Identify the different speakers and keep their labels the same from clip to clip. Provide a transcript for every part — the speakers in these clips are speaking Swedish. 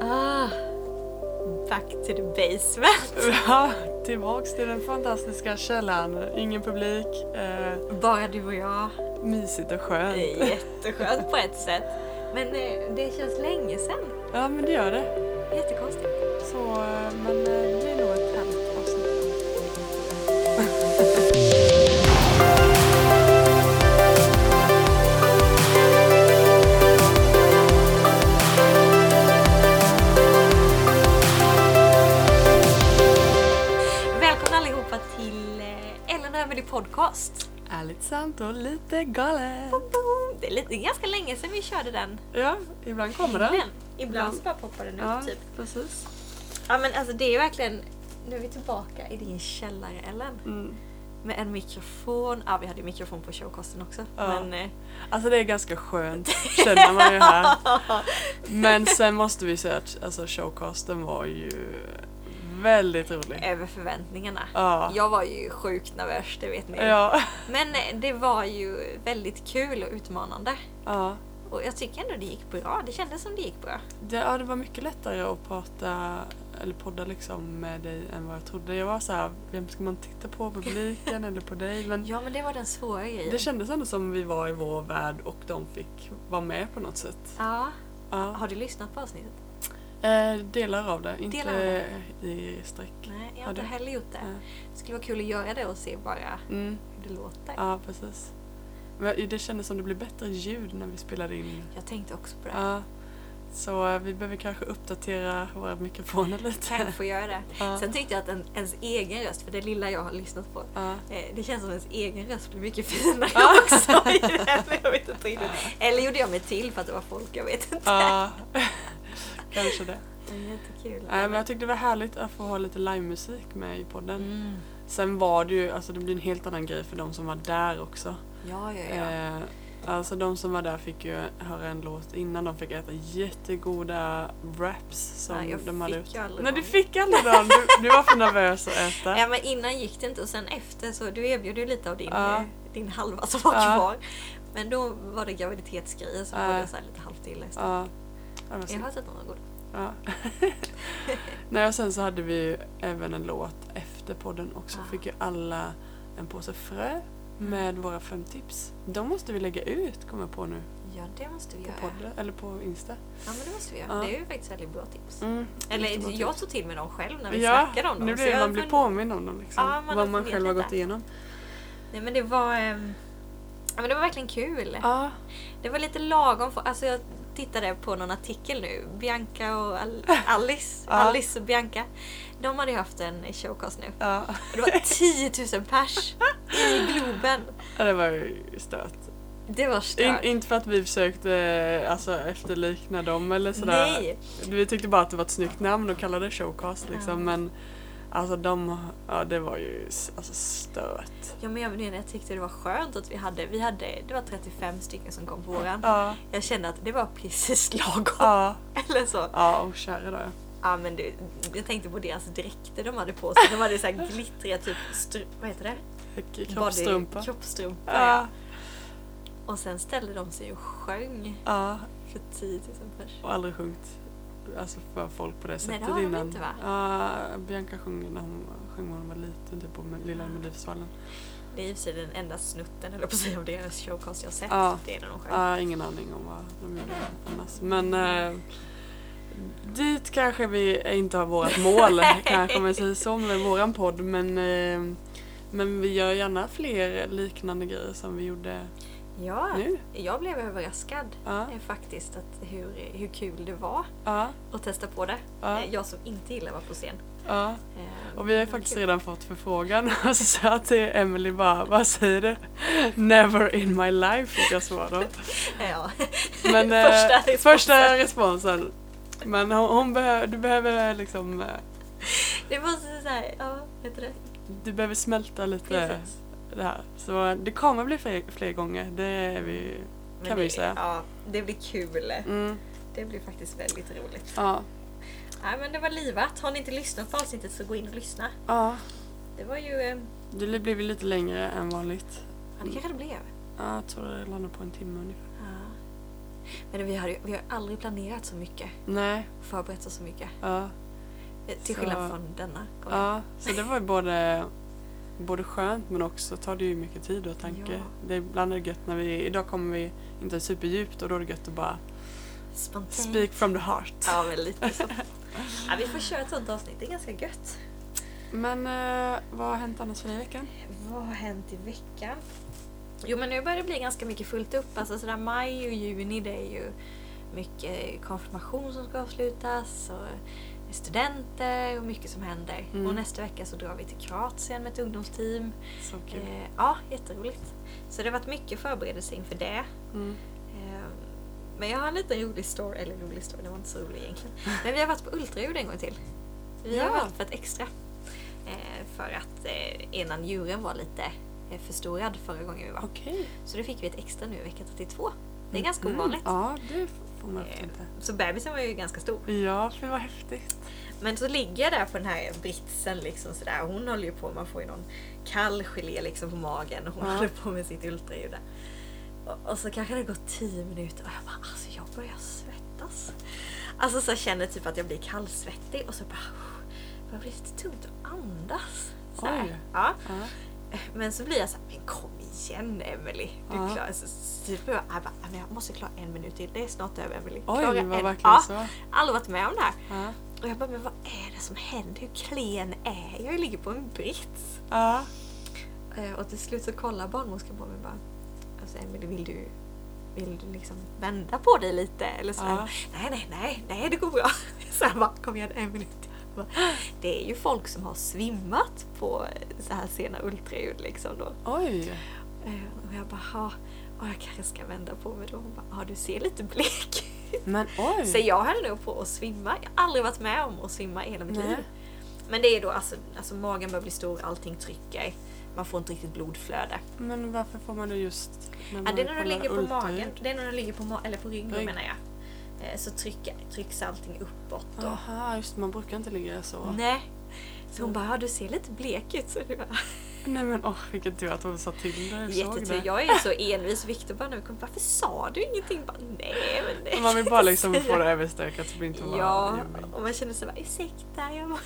Speaker 1: Ah, back to the basement.
Speaker 2: Ja, tillbaks till den fantastiska källaren. Ingen publik. Eh,
Speaker 1: Bara du och jag.
Speaker 2: mysigt
Speaker 1: Det
Speaker 2: och skönt.
Speaker 1: är jätteskönt på ett sätt. Men eh, det känns länge sedan.
Speaker 2: Ja, men det gör det.
Speaker 1: Jättekonstigt.
Speaker 2: Så, eh, men eh, det blir nog ett härligt avsnitt.
Speaker 1: Välkomna allihopa till eh, Ellen och Emily Podcast.
Speaker 2: Ärligt sant och lite galet.
Speaker 1: Det är lite, ganska länge sedan vi körde den.
Speaker 2: Ja, ibland kommer den.
Speaker 1: Men ibland så bara poppar den upp
Speaker 2: Ja,
Speaker 1: typ.
Speaker 2: precis.
Speaker 1: Ja men alltså det är ju verkligen... Nu är vi tillbaka i din källare Ellen.
Speaker 2: Mm.
Speaker 1: Med en mikrofon. Ja vi hade ju mikrofon på showkosten också.
Speaker 2: Ja.
Speaker 1: Men, eh,
Speaker 2: Alltså det är ganska skönt, känner man ju här. Men sen måste vi säga att alltså, showcasten var ju väldigt rolig.
Speaker 1: över förväntningarna.
Speaker 2: Ja.
Speaker 1: Jag var ju sjukt nervös, det vet ni.
Speaker 2: Ja.
Speaker 1: Men eh, det var ju väldigt kul och utmanande.
Speaker 2: ja.
Speaker 1: Och jag tycker ändå det gick bra. Det kändes som det gick bra.
Speaker 2: Det, ja, det var mycket lättare att prata eller podda liksom med dig än vad jag trodde. Jag var så här, vem ska man titta på? Publiken eller på dig? Men
Speaker 1: Ja men det var den svåra grejen.
Speaker 2: det kändes ändå som vi var i vår värld och de fick vara med på något sätt.
Speaker 1: ja.
Speaker 2: Ja.
Speaker 1: Har du lyssnat på avsnittet?
Speaker 2: Eh, delar av det, inte
Speaker 1: Delar av det.
Speaker 2: i sträck.
Speaker 1: Nej, jag har
Speaker 2: Har
Speaker 1: inte
Speaker 2: du?
Speaker 1: heller gjort det.
Speaker 2: Nej.
Speaker 1: Det skulle vara kul att göra det och se bara
Speaker 2: Mm.
Speaker 1: hur det låter.
Speaker 2: Ja, precis. Men det kändes som det blev bättre ljud när vi spelade in.
Speaker 1: Jag tänkte också på det.
Speaker 2: Ja. Så eh, vi behöver kanske uppdatera våra mikrofoner
Speaker 1: Kanske
Speaker 2: lite.
Speaker 1: får göra det.
Speaker 2: Ja.
Speaker 1: Sen tyckte jag att en, ens egen röst, för det lilla jag har lyssnat på,
Speaker 2: Ja.
Speaker 1: eh, det känns som ens egen röst blir mycket finare
Speaker 2: Ja.
Speaker 1: också. i det här, men jag vet inte riktigt. Eller gjorde jag mig till för att det var folk, jag vet inte.
Speaker 2: Ja, kanske det.
Speaker 1: Men Jättekul.
Speaker 2: Nej, men jag tyckte det var härligt att få ha lite livemusik med i podden.
Speaker 1: Mm.
Speaker 2: Sen var det ju, alltså det blir en helt annan grej för de som var där också.
Speaker 1: Ja, ja, ja.
Speaker 2: Eh, alltså de som var där fick ju höra en låt innan, de fick äta jättegoda wraps som
Speaker 1: Nej, jag
Speaker 2: de hade
Speaker 1: fick ju aldrig
Speaker 2: Nej
Speaker 1: dem.
Speaker 2: du fick aldrig dem! Du, du var för nervös att äta.
Speaker 1: Ja, men innan gick det inte och sen efter så du erbjöd ju lite av din,
Speaker 2: Ja.
Speaker 1: eh, din halva som var
Speaker 2: Ja.
Speaker 1: kvar. Men då var det graviditetsgrejer så
Speaker 2: Ja.
Speaker 1: var det så här lite halvt illa istället.
Speaker 2: Ja. Ja, det var
Speaker 1: Jag
Speaker 2: synd.
Speaker 1: har sett några goda.
Speaker 2: Ja. Nej, och sen så hade vi ju även en låt efter podden också.
Speaker 1: Ah.
Speaker 2: Fick ju alla en påse frö med våra fem tips. De måste vi lägga ut, kommer jag på nu,
Speaker 1: Ja, det måste vi
Speaker 2: på
Speaker 1: göra.
Speaker 2: podden eller på Insta.
Speaker 1: Ja, men det måste vi göra.
Speaker 2: Ja.
Speaker 1: Det är ju faktiskt väldigt bra tips.
Speaker 2: Mm.
Speaker 1: Eller
Speaker 2: jättebra
Speaker 1: jag
Speaker 2: tips.
Speaker 1: tog till mig dem själv när vi
Speaker 2: ja,
Speaker 1: snackade om dem.
Speaker 2: Nu
Speaker 1: så
Speaker 2: blir
Speaker 1: jag
Speaker 2: man blir
Speaker 1: fun-
Speaker 2: påmind om dem liksom.
Speaker 1: Ja, man har
Speaker 2: vad man
Speaker 1: funderat
Speaker 2: själv har
Speaker 1: lite.
Speaker 2: gått igenom.
Speaker 1: Nej, men det var... ehm, Ja, men det var verkligen kul.
Speaker 2: Ja,
Speaker 1: Det var lite lagom. För, alltså jag tittade på någon artikel nu. Bianca och Al- Alice.
Speaker 2: Ja.
Speaker 1: Alice och Bianca. De hade ju haft en showcast nu.
Speaker 2: ja.
Speaker 1: Och Det var 10 000 pers i Globen.
Speaker 2: ja, det var ju stört.
Speaker 1: Det var
Speaker 2: In,
Speaker 1: stört.
Speaker 2: inte för att vi försökte alltså, efterlikna dem eller sådär.
Speaker 1: Nej!
Speaker 2: Vi tyckte bara att det var ett snyggt namn och kallade det showcast liksom
Speaker 1: Ja.
Speaker 2: men alltså de, ja det var ju s- alltså stört.
Speaker 1: Ja, men jag, menar, jag tyckte det var skönt att vi hade, vi hade... Det var 35 stycken som kom på våran.
Speaker 2: Ja,
Speaker 1: Jag kände att det var precis lagom.
Speaker 2: ja,
Speaker 1: Eller så.
Speaker 2: ja och kära då.
Speaker 1: Ja men du, jag tänkte på deras dräkter de hade på sig. De hade så här glittriga typ, stru- vad heter det?
Speaker 2: K- Kroppstrumpa.
Speaker 1: Body- Kroppstrumpa ja.
Speaker 2: Ja,
Speaker 1: Och sen ställde de sig och sjöng
Speaker 2: ja,
Speaker 1: för 10 000 pers.
Speaker 2: och aldrig sjungit alltså för folk på det sättet
Speaker 1: har de
Speaker 2: innan.
Speaker 1: inte, va?
Speaker 2: Ja, Bianca sjöng när hon, sjöng när hon var liten typ på Me-
Speaker 1: Ah.
Speaker 2: Lilla Melodifestivalen.
Speaker 1: Det är i och för sig den enda snutten, eller på att säga, av deras showcast jag sett.
Speaker 2: Ja.
Speaker 1: Det är när de sjöng.
Speaker 2: Ja, ingen aning om vad de gjorde annars. Men eh, dit kanske vi inte har vårt mål, kanske om man säger så, med våran podd. Men, eh, men vi gör gärna fler liknande grejer som vi gjorde
Speaker 1: Ja,
Speaker 2: nu.
Speaker 1: jag blev överraskad
Speaker 2: Ja,
Speaker 1: eh, faktiskt att hur, hur kul det var
Speaker 2: ja,
Speaker 1: att testa på det.
Speaker 2: ja,
Speaker 1: Eh, Jag som inte gillar att vara på scen.
Speaker 2: ja.
Speaker 1: Eh,
Speaker 2: Och vi har
Speaker 1: men
Speaker 2: ju faktiskt
Speaker 1: kul.
Speaker 2: redan fått förfrågan och så sa jag till Emily bara, vad säger du? Never in my life fick jag svar då.
Speaker 1: Ja.
Speaker 2: Men, eh,
Speaker 1: Första responsen.
Speaker 2: första responsen. Men hon, hon behöver, du behöver liksom eh,
Speaker 1: Det var så så här, ja, vet du det?
Speaker 2: Du behöver smälta lite
Speaker 1: Precis.
Speaker 2: det här. Så eh, det kommer bli fler, fler gånger, det är vi...
Speaker 1: Men
Speaker 2: Kan vi
Speaker 1: det-
Speaker 2: säga.
Speaker 1: Ja, det blir kul.
Speaker 2: Mm,
Speaker 1: Det blir faktiskt väldigt roligt.
Speaker 2: ja.
Speaker 1: Nej men det var livat. Har ni inte lyssnat på avsnittet så gå in och lyssna.
Speaker 2: ja.
Speaker 1: Det var ju... Eh,
Speaker 2: Det li- blev ju lite längre än vanligt.
Speaker 1: ja, det kanske det blev.
Speaker 2: Ja, jag tror det landade på en timme ungefär.
Speaker 1: Ja. Men vi har ju vi har aldrig planerat så mycket.
Speaker 2: Nej,
Speaker 1: Förberett oss så mycket.
Speaker 2: ja.
Speaker 1: Eh, Till
Speaker 2: Så-
Speaker 1: skillnad från denna. gång.
Speaker 2: Ja, så det var ju både, både skönt men också tar det ju mycket tid och tanke.
Speaker 1: Ja.
Speaker 2: Det är ibland är det gött när vi, idag kommer vi inte superdjupt och då är det gött att bara
Speaker 1: Spontant.
Speaker 2: speak from the heart.
Speaker 1: Mm. Ja, men lite så. Ja, vi får köra ett sånt avsnitt, det är ganska gött.
Speaker 2: Men eh, vad har hänt annars för dig i veckan?
Speaker 1: Vad har hänt i veckan? Jo men nu börjar det bli ganska mycket fullt upp. Alltså sådär maj och juni det är ju mycket konfirmation som ska avslutas och studenter och mycket som händer.
Speaker 2: Mm.
Speaker 1: Och nästa vecka så drar vi till Kroatien med ett ungdomsteam.
Speaker 2: Så kul.
Speaker 1: Eh, ja, jätteroligt. Så det har varit mycket förberedelse inför det.
Speaker 2: Mm.
Speaker 1: Eh, men jag har en liten rolig story, eller rolig story, den var inte så rolig egentligen. Men vi har varit på ultraljud en gång till. Vi har
Speaker 2: Ja.
Speaker 1: varit på ett extra. Eh, för att eh, innan djuren var lite eh, förstorad förra gången vi var.
Speaker 2: Okej.
Speaker 1: Så det fick vi ett extra nu i vecka 32. Det är
Speaker 2: Mm.
Speaker 1: ganska
Speaker 2: Mm.
Speaker 1: ovanligt.
Speaker 2: Ja, det får man ofta
Speaker 1: Eh,
Speaker 2: inte.
Speaker 1: Så bebisen var ju ganska stor.
Speaker 2: Ja, för vad häftigt.
Speaker 1: Men så ligger jag där på den här britsen liksom sådär. och Hon håller ju på, man får ju någon kall gelé liksom på magen och hon
Speaker 2: Ja.
Speaker 1: håller på med sitt ultraljud där. Och, och så kanske det har gått 10 minuter och jag bara alltså jag börjar svettas. Alltså så jag känner typ att jag blir kallsvettig och så bara jag blir lite tungt att andas. Så
Speaker 2: Oj.
Speaker 1: här. Ja.
Speaker 2: Ja.
Speaker 1: Men så blir jag så här, men kom igen Emily. Du
Speaker 2: Ja.
Speaker 1: klarar så, så typ jag, jag, bara, men jag måste klara en minut till, det är snart över Emily.
Speaker 2: Oj,
Speaker 1: Klara
Speaker 2: det var
Speaker 1: en-
Speaker 2: verkligen
Speaker 1: ja,
Speaker 2: så.
Speaker 1: Aldrig varit med om det här.
Speaker 2: Ja.
Speaker 1: Och jag bara, men vad är det som händer? Hur klen är jag? Jag ligger på en brits.
Speaker 2: Ja.
Speaker 1: Eh, Och till slut så kollar barnmorskan på mig och bara, alltså Emelie vill du, vill du liksom vända på dig lite? Eller så här,
Speaker 2: Ja.
Speaker 1: nej, nej, nej, nej, det går bra. Så jag bara, kom igen Emelie. Jag bara, Det är ju folk som har svimmat på eh, så här sena ultraljud liksom då.
Speaker 2: Oj.
Speaker 1: Eh, Och jag bara, ja, och jag kanske ska vända på mig då. Hon bara, ja du ser lite blek ut.
Speaker 2: Men oj.
Speaker 1: Så jag höll nog på att svimma. Jag har aldrig varit med om att svimma i hela mitt
Speaker 2: Nej.
Speaker 1: liv. Men det är då alltså, alltså magen börjar bli stor, allting trycker. Man får inte riktigt blodflöde.
Speaker 2: Men varför får man det just när
Speaker 1: Ja, det är när du
Speaker 2: kollar
Speaker 1: ligger på magen,
Speaker 2: ultraljud?
Speaker 1: det är när du ligger på ma- eller på ryggen
Speaker 2: Rygg.
Speaker 1: menar jag. Eh, Så trycker, trycks allting uppåt. Och,
Speaker 2: Aha, just det, man brukar inte ligga så. Nej,
Speaker 1: Nej. Så hon bara, "Ja, du ser lite blek ut. Så det var
Speaker 2: men åh vilken tur att hon sa till när du såg
Speaker 1: jättetur.
Speaker 2: det.
Speaker 1: Jag är så envis. Viktor bara, nu kom, varför sa du ingenting? Jag Bara, Nej men det.
Speaker 2: Man vill bara liksom få det överstökat så blir inte man
Speaker 1: Ja,
Speaker 2: jobbig.
Speaker 1: och man känner sig bara ursäkta, jag var...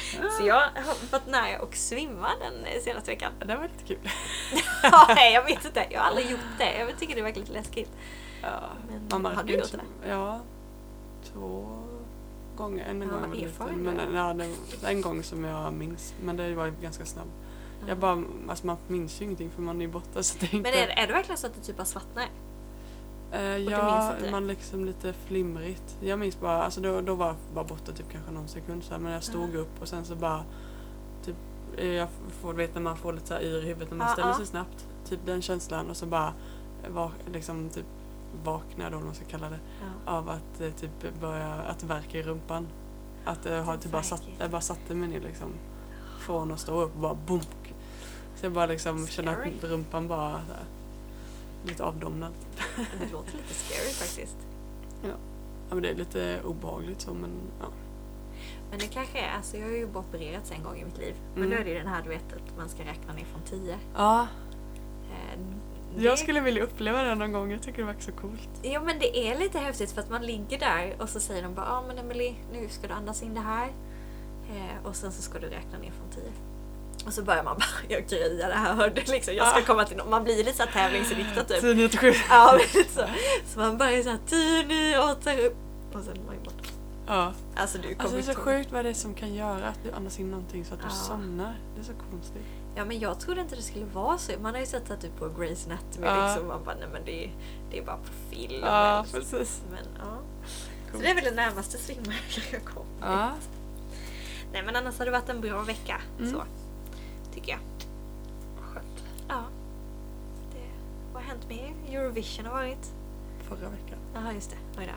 Speaker 1: Så jag har varit nära och svimma den eh, senaste veckan.
Speaker 2: Det var lite kul.
Speaker 1: Nej, jag vet inte, jag har aldrig gjort det. Jag tycker det verkar lite läskigt.
Speaker 2: Ja.
Speaker 1: Men
Speaker 2: Man
Speaker 1: har
Speaker 2: märker
Speaker 1: du
Speaker 2: ju
Speaker 1: gjort
Speaker 2: som-
Speaker 1: det?
Speaker 2: Ja, två gånger. En
Speaker 1: Ja,
Speaker 2: gång jag var
Speaker 1: erfaren
Speaker 2: liten. Men ja, det var en gång som jag minns. Men det var ju ganska snabb. Jag bara, alltså man minns ju ingenting för man är ju borta så det är inte...
Speaker 1: Men är, är det verkligen så att du typ har svartnat?
Speaker 2: Eh,
Speaker 1: du
Speaker 2: ja,
Speaker 1: minns inte det?
Speaker 2: man liksom lite flimrigt. Jag minns bara, alltså då, då var jag bara borta typ kanske någon sekund så här, men jag stod
Speaker 1: Ja.
Speaker 2: upp och sen så bara typ, eh, jag får du vet när man får lite så här yr i huvudet när man
Speaker 1: Ja,
Speaker 2: ställer
Speaker 1: ja.
Speaker 2: sig snabbt. Typ den känslan och så bara eh, va, liksom typ vaknar då, om man ska kalla det,
Speaker 1: Ja.
Speaker 2: av att eh, typ börja, att det värka i rumpan. Att jag har typ bara, satt,
Speaker 1: Verkar.
Speaker 2: jag bara satte mig ner liksom från att stå upp och bara bunk. Så jag bara liksom känner
Speaker 1: Scary.
Speaker 2: att rumpan bara så här, lite avdomnad.
Speaker 1: Det låter lite scary faktiskt.
Speaker 2: Ja, men det är lite obehagligt så men ja.
Speaker 1: Men det kanske är, alltså jag har ju bara opererats en gång i mitt liv. Men
Speaker 2: Mm.
Speaker 1: då är det ju den här du vet att man ska räkna ner från Eh, 10. Eh, det-
Speaker 2: Jag skulle vilja uppleva det någon gång, jag tycker det verkar så coolt.
Speaker 1: Ja men det är lite häftigt för att man ligger där och så säger de bara ja ah, men Emily nu ska du andas in det här eh, och sen så ska du räkna ner från 10. Och så börjar man bara jag grejar det här hörde liksom jag ska
Speaker 2: Ah.
Speaker 1: komma till någon. Man blir lite så här tävlingsinriktad typ.
Speaker 2: Tidningen till sju.
Speaker 1: Ja men lite så. Så man börjar så här 10, 9, 8 och sen är man ju borta.
Speaker 2: Ja.
Speaker 1: Alltså du kommer
Speaker 2: Alltså det är så
Speaker 1: inte-
Speaker 2: sjukt vad det är som kan göra att du andas in någonting så att du
Speaker 1: Ja.
Speaker 2: somnar. Det är så konstigt.
Speaker 1: Ja men jag trodde inte det skulle vara så. Man har ju sett att du på Grey's Anatomy
Speaker 2: Ah.
Speaker 1: liksom man bara nej men det är, det är bara på film. men,
Speaker 2: precis.
Speaker 1: men ja. Så
Speaker 2: Coolt. Ah.
Speaker 1: det är väl det närmaste svimmar jag kommer.
Speaker 2: Ja.
Speaker 1: Nej men annars har det varit en bra vecka.
Speaker 2: Mm.
Speaker 1: Så, tycker jag. Ja. Det, vad har hänt med er? Eurovision har varit.
Speaker 2: Förra veckan.
Speaker 1: Jaha just det, oj då.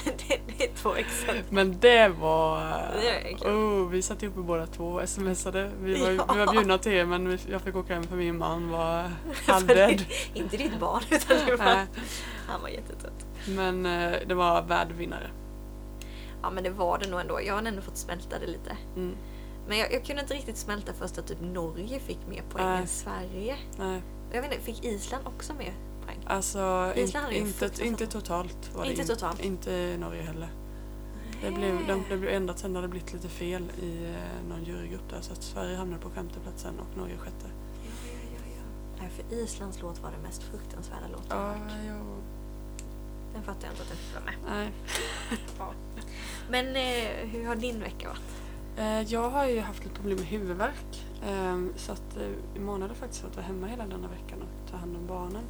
Speaker 1: det, det är två exempel.
Speaker 2: Men det var...
Speaker 1: Det är kul.
Speaker 2: oh, vi satt ihop båda två och smsade. Vi var,
Speaker 1: Ja.
Speaker 2: vi var bjudna till er men vi, jag fick åka hem för min man var halvdöd.
Speaker 1: Alltså, Inte ditt barn utan det var,
Speaker 2: Nej.
Speaker 1: han var jättetrött.
Speaker 2: men eh, det var värdvinnare.
Speaker 1: Ja men det var det nog ändå. Jag har ändå fått smälta det lite.
Speaker 2: Mm.
Speaker 1: Men jag, jag kunde inte riktigt smälta först att typ Norge fick mer poäng
Speaker 2: Nej.
Speaker 1: än Sverige.
Speaker 2: Nej.
Speaker 1: Jag vet inte, fick Island också mer poäng?
Speaker 2: Alltså in,
Speaker 1: Island är ju
Speaker 2: inte,
Speaker 1: fruktansvärt.
Speaker 2: inte totalt var det
Speaker 1: Inte
Speaker 2: in-
Speaker 1: totalt.
Speaker 2: Inte Norge heller. Det blev, de, det blev ändrat sen när det blivit lite fel i eh, någon jurygrupp där så att Sverige hamnade på femte platsen och Norge sjätte.
Speaker 1: Ja, ja, ja, ja. Nej, för Islands låt var den mest fruktansvärda låten jag
Speaker 2: Ja,
Speaker 1: hört.
Speaker 2: jag...
Speaker 1: Den fattar jag inte att den fick vara med.
Speaker 2: Nej.
Speaker 1: Men eh, hur har din vecka varit?
Speaker 2: Eh, Jag har ju haft lite problem med huvudvärk. eh, Så att eh, i månader faktiskt fått vara hemma hela denna veckan och ta hand om barnen.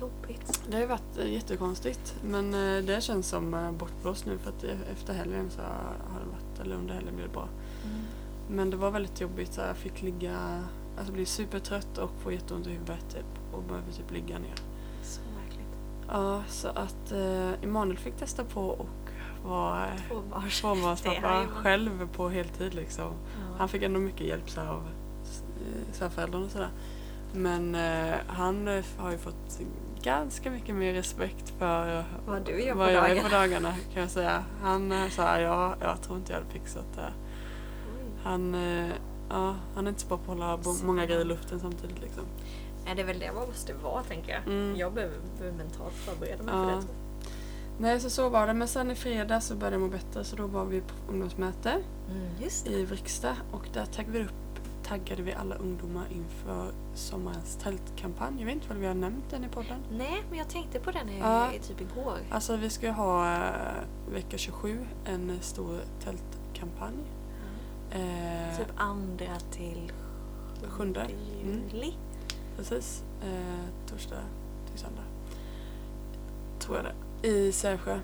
Speaker 1: Jobbigt.
Speaker 2: Det har ju varit eh, jättekonstigt men eh, det känns som eh, bortblåst nu för att eh, efter helgen så har det varit, eller under helgen blev det bra. Men det var väldigt jobbigt så jag fick ligga, alltså bli supertrött och få jätteont i huvudet typ och behöver typ ligga ner.
Speaker 1: Så
Speaker 2: Mm.
Speaker 1: märkligt.
Speaker 2: Ja så att eh, Emanuel fick testa på och var eh,
Speaker 1: Tvåbarns. Det är
Speaker 2: tvåbarnspappa
Speaker 1: ju man.
Speaker 2: själv på heltid liksom.
Speaker 1: Ja.
Speaker 2: Han fick ändå mycket hjälp så här, av s- eh, svärföräldrarna och sådär. Men eh, han eh, har ju fått ganska mycket mer respekt för eh,
Speaker 1: Vad du gör
Speaker 2: vad
Speaker 1: på
Speaker 2: jag
Speaker 1: dagarna.
Speaker 2: är på dagarna kan jag säga. Han eh, sa här, ja, jag tror inte jag hade fixat det.
Speaker 1: Oj.
Speaker 2: Han, eh, ja, han är inte så bra på att hålla bo-
Speaker 1: Så.
Speaker 2: många grejer i luften samtidigt liksom.
Speaker 1: Nej, det är väl det man måste vara tänker jag.
Speaker 2: Mm.
Speaker 1: Jag behöver, behöver mentalt förbereda mig
Speaker 2: Ja.
Speaker 1: för det. tror
Speaker 2: Nej, så så var det. Men sen i fredag så började jag må bättre så då var vi på ungdomsmöte
Speaker 1: jag. Mm, just det.
Speaker 2: i Vriksta och där taggade vi, upp, taggade vi alla ungdomar inför sommarens tältkampanj. Jag vet inte om vi har nämnt den i podden.
Speaker 1: Nej, men jag tänkte på den i,
Speaker 2: Ja.
Speaker 1: i typ igår.
Speaker 2: Alltså vi ska ju ha eh, vecka 27 en stor tältkampanj. Eh,
Speaker 1: Typ andra till
Speaker 2: Sjunde. Mm.
Speaker 1: juli.
Speaker 2: Precis. Eh, torsdag till söndag. Tror jag det. I Sävsjö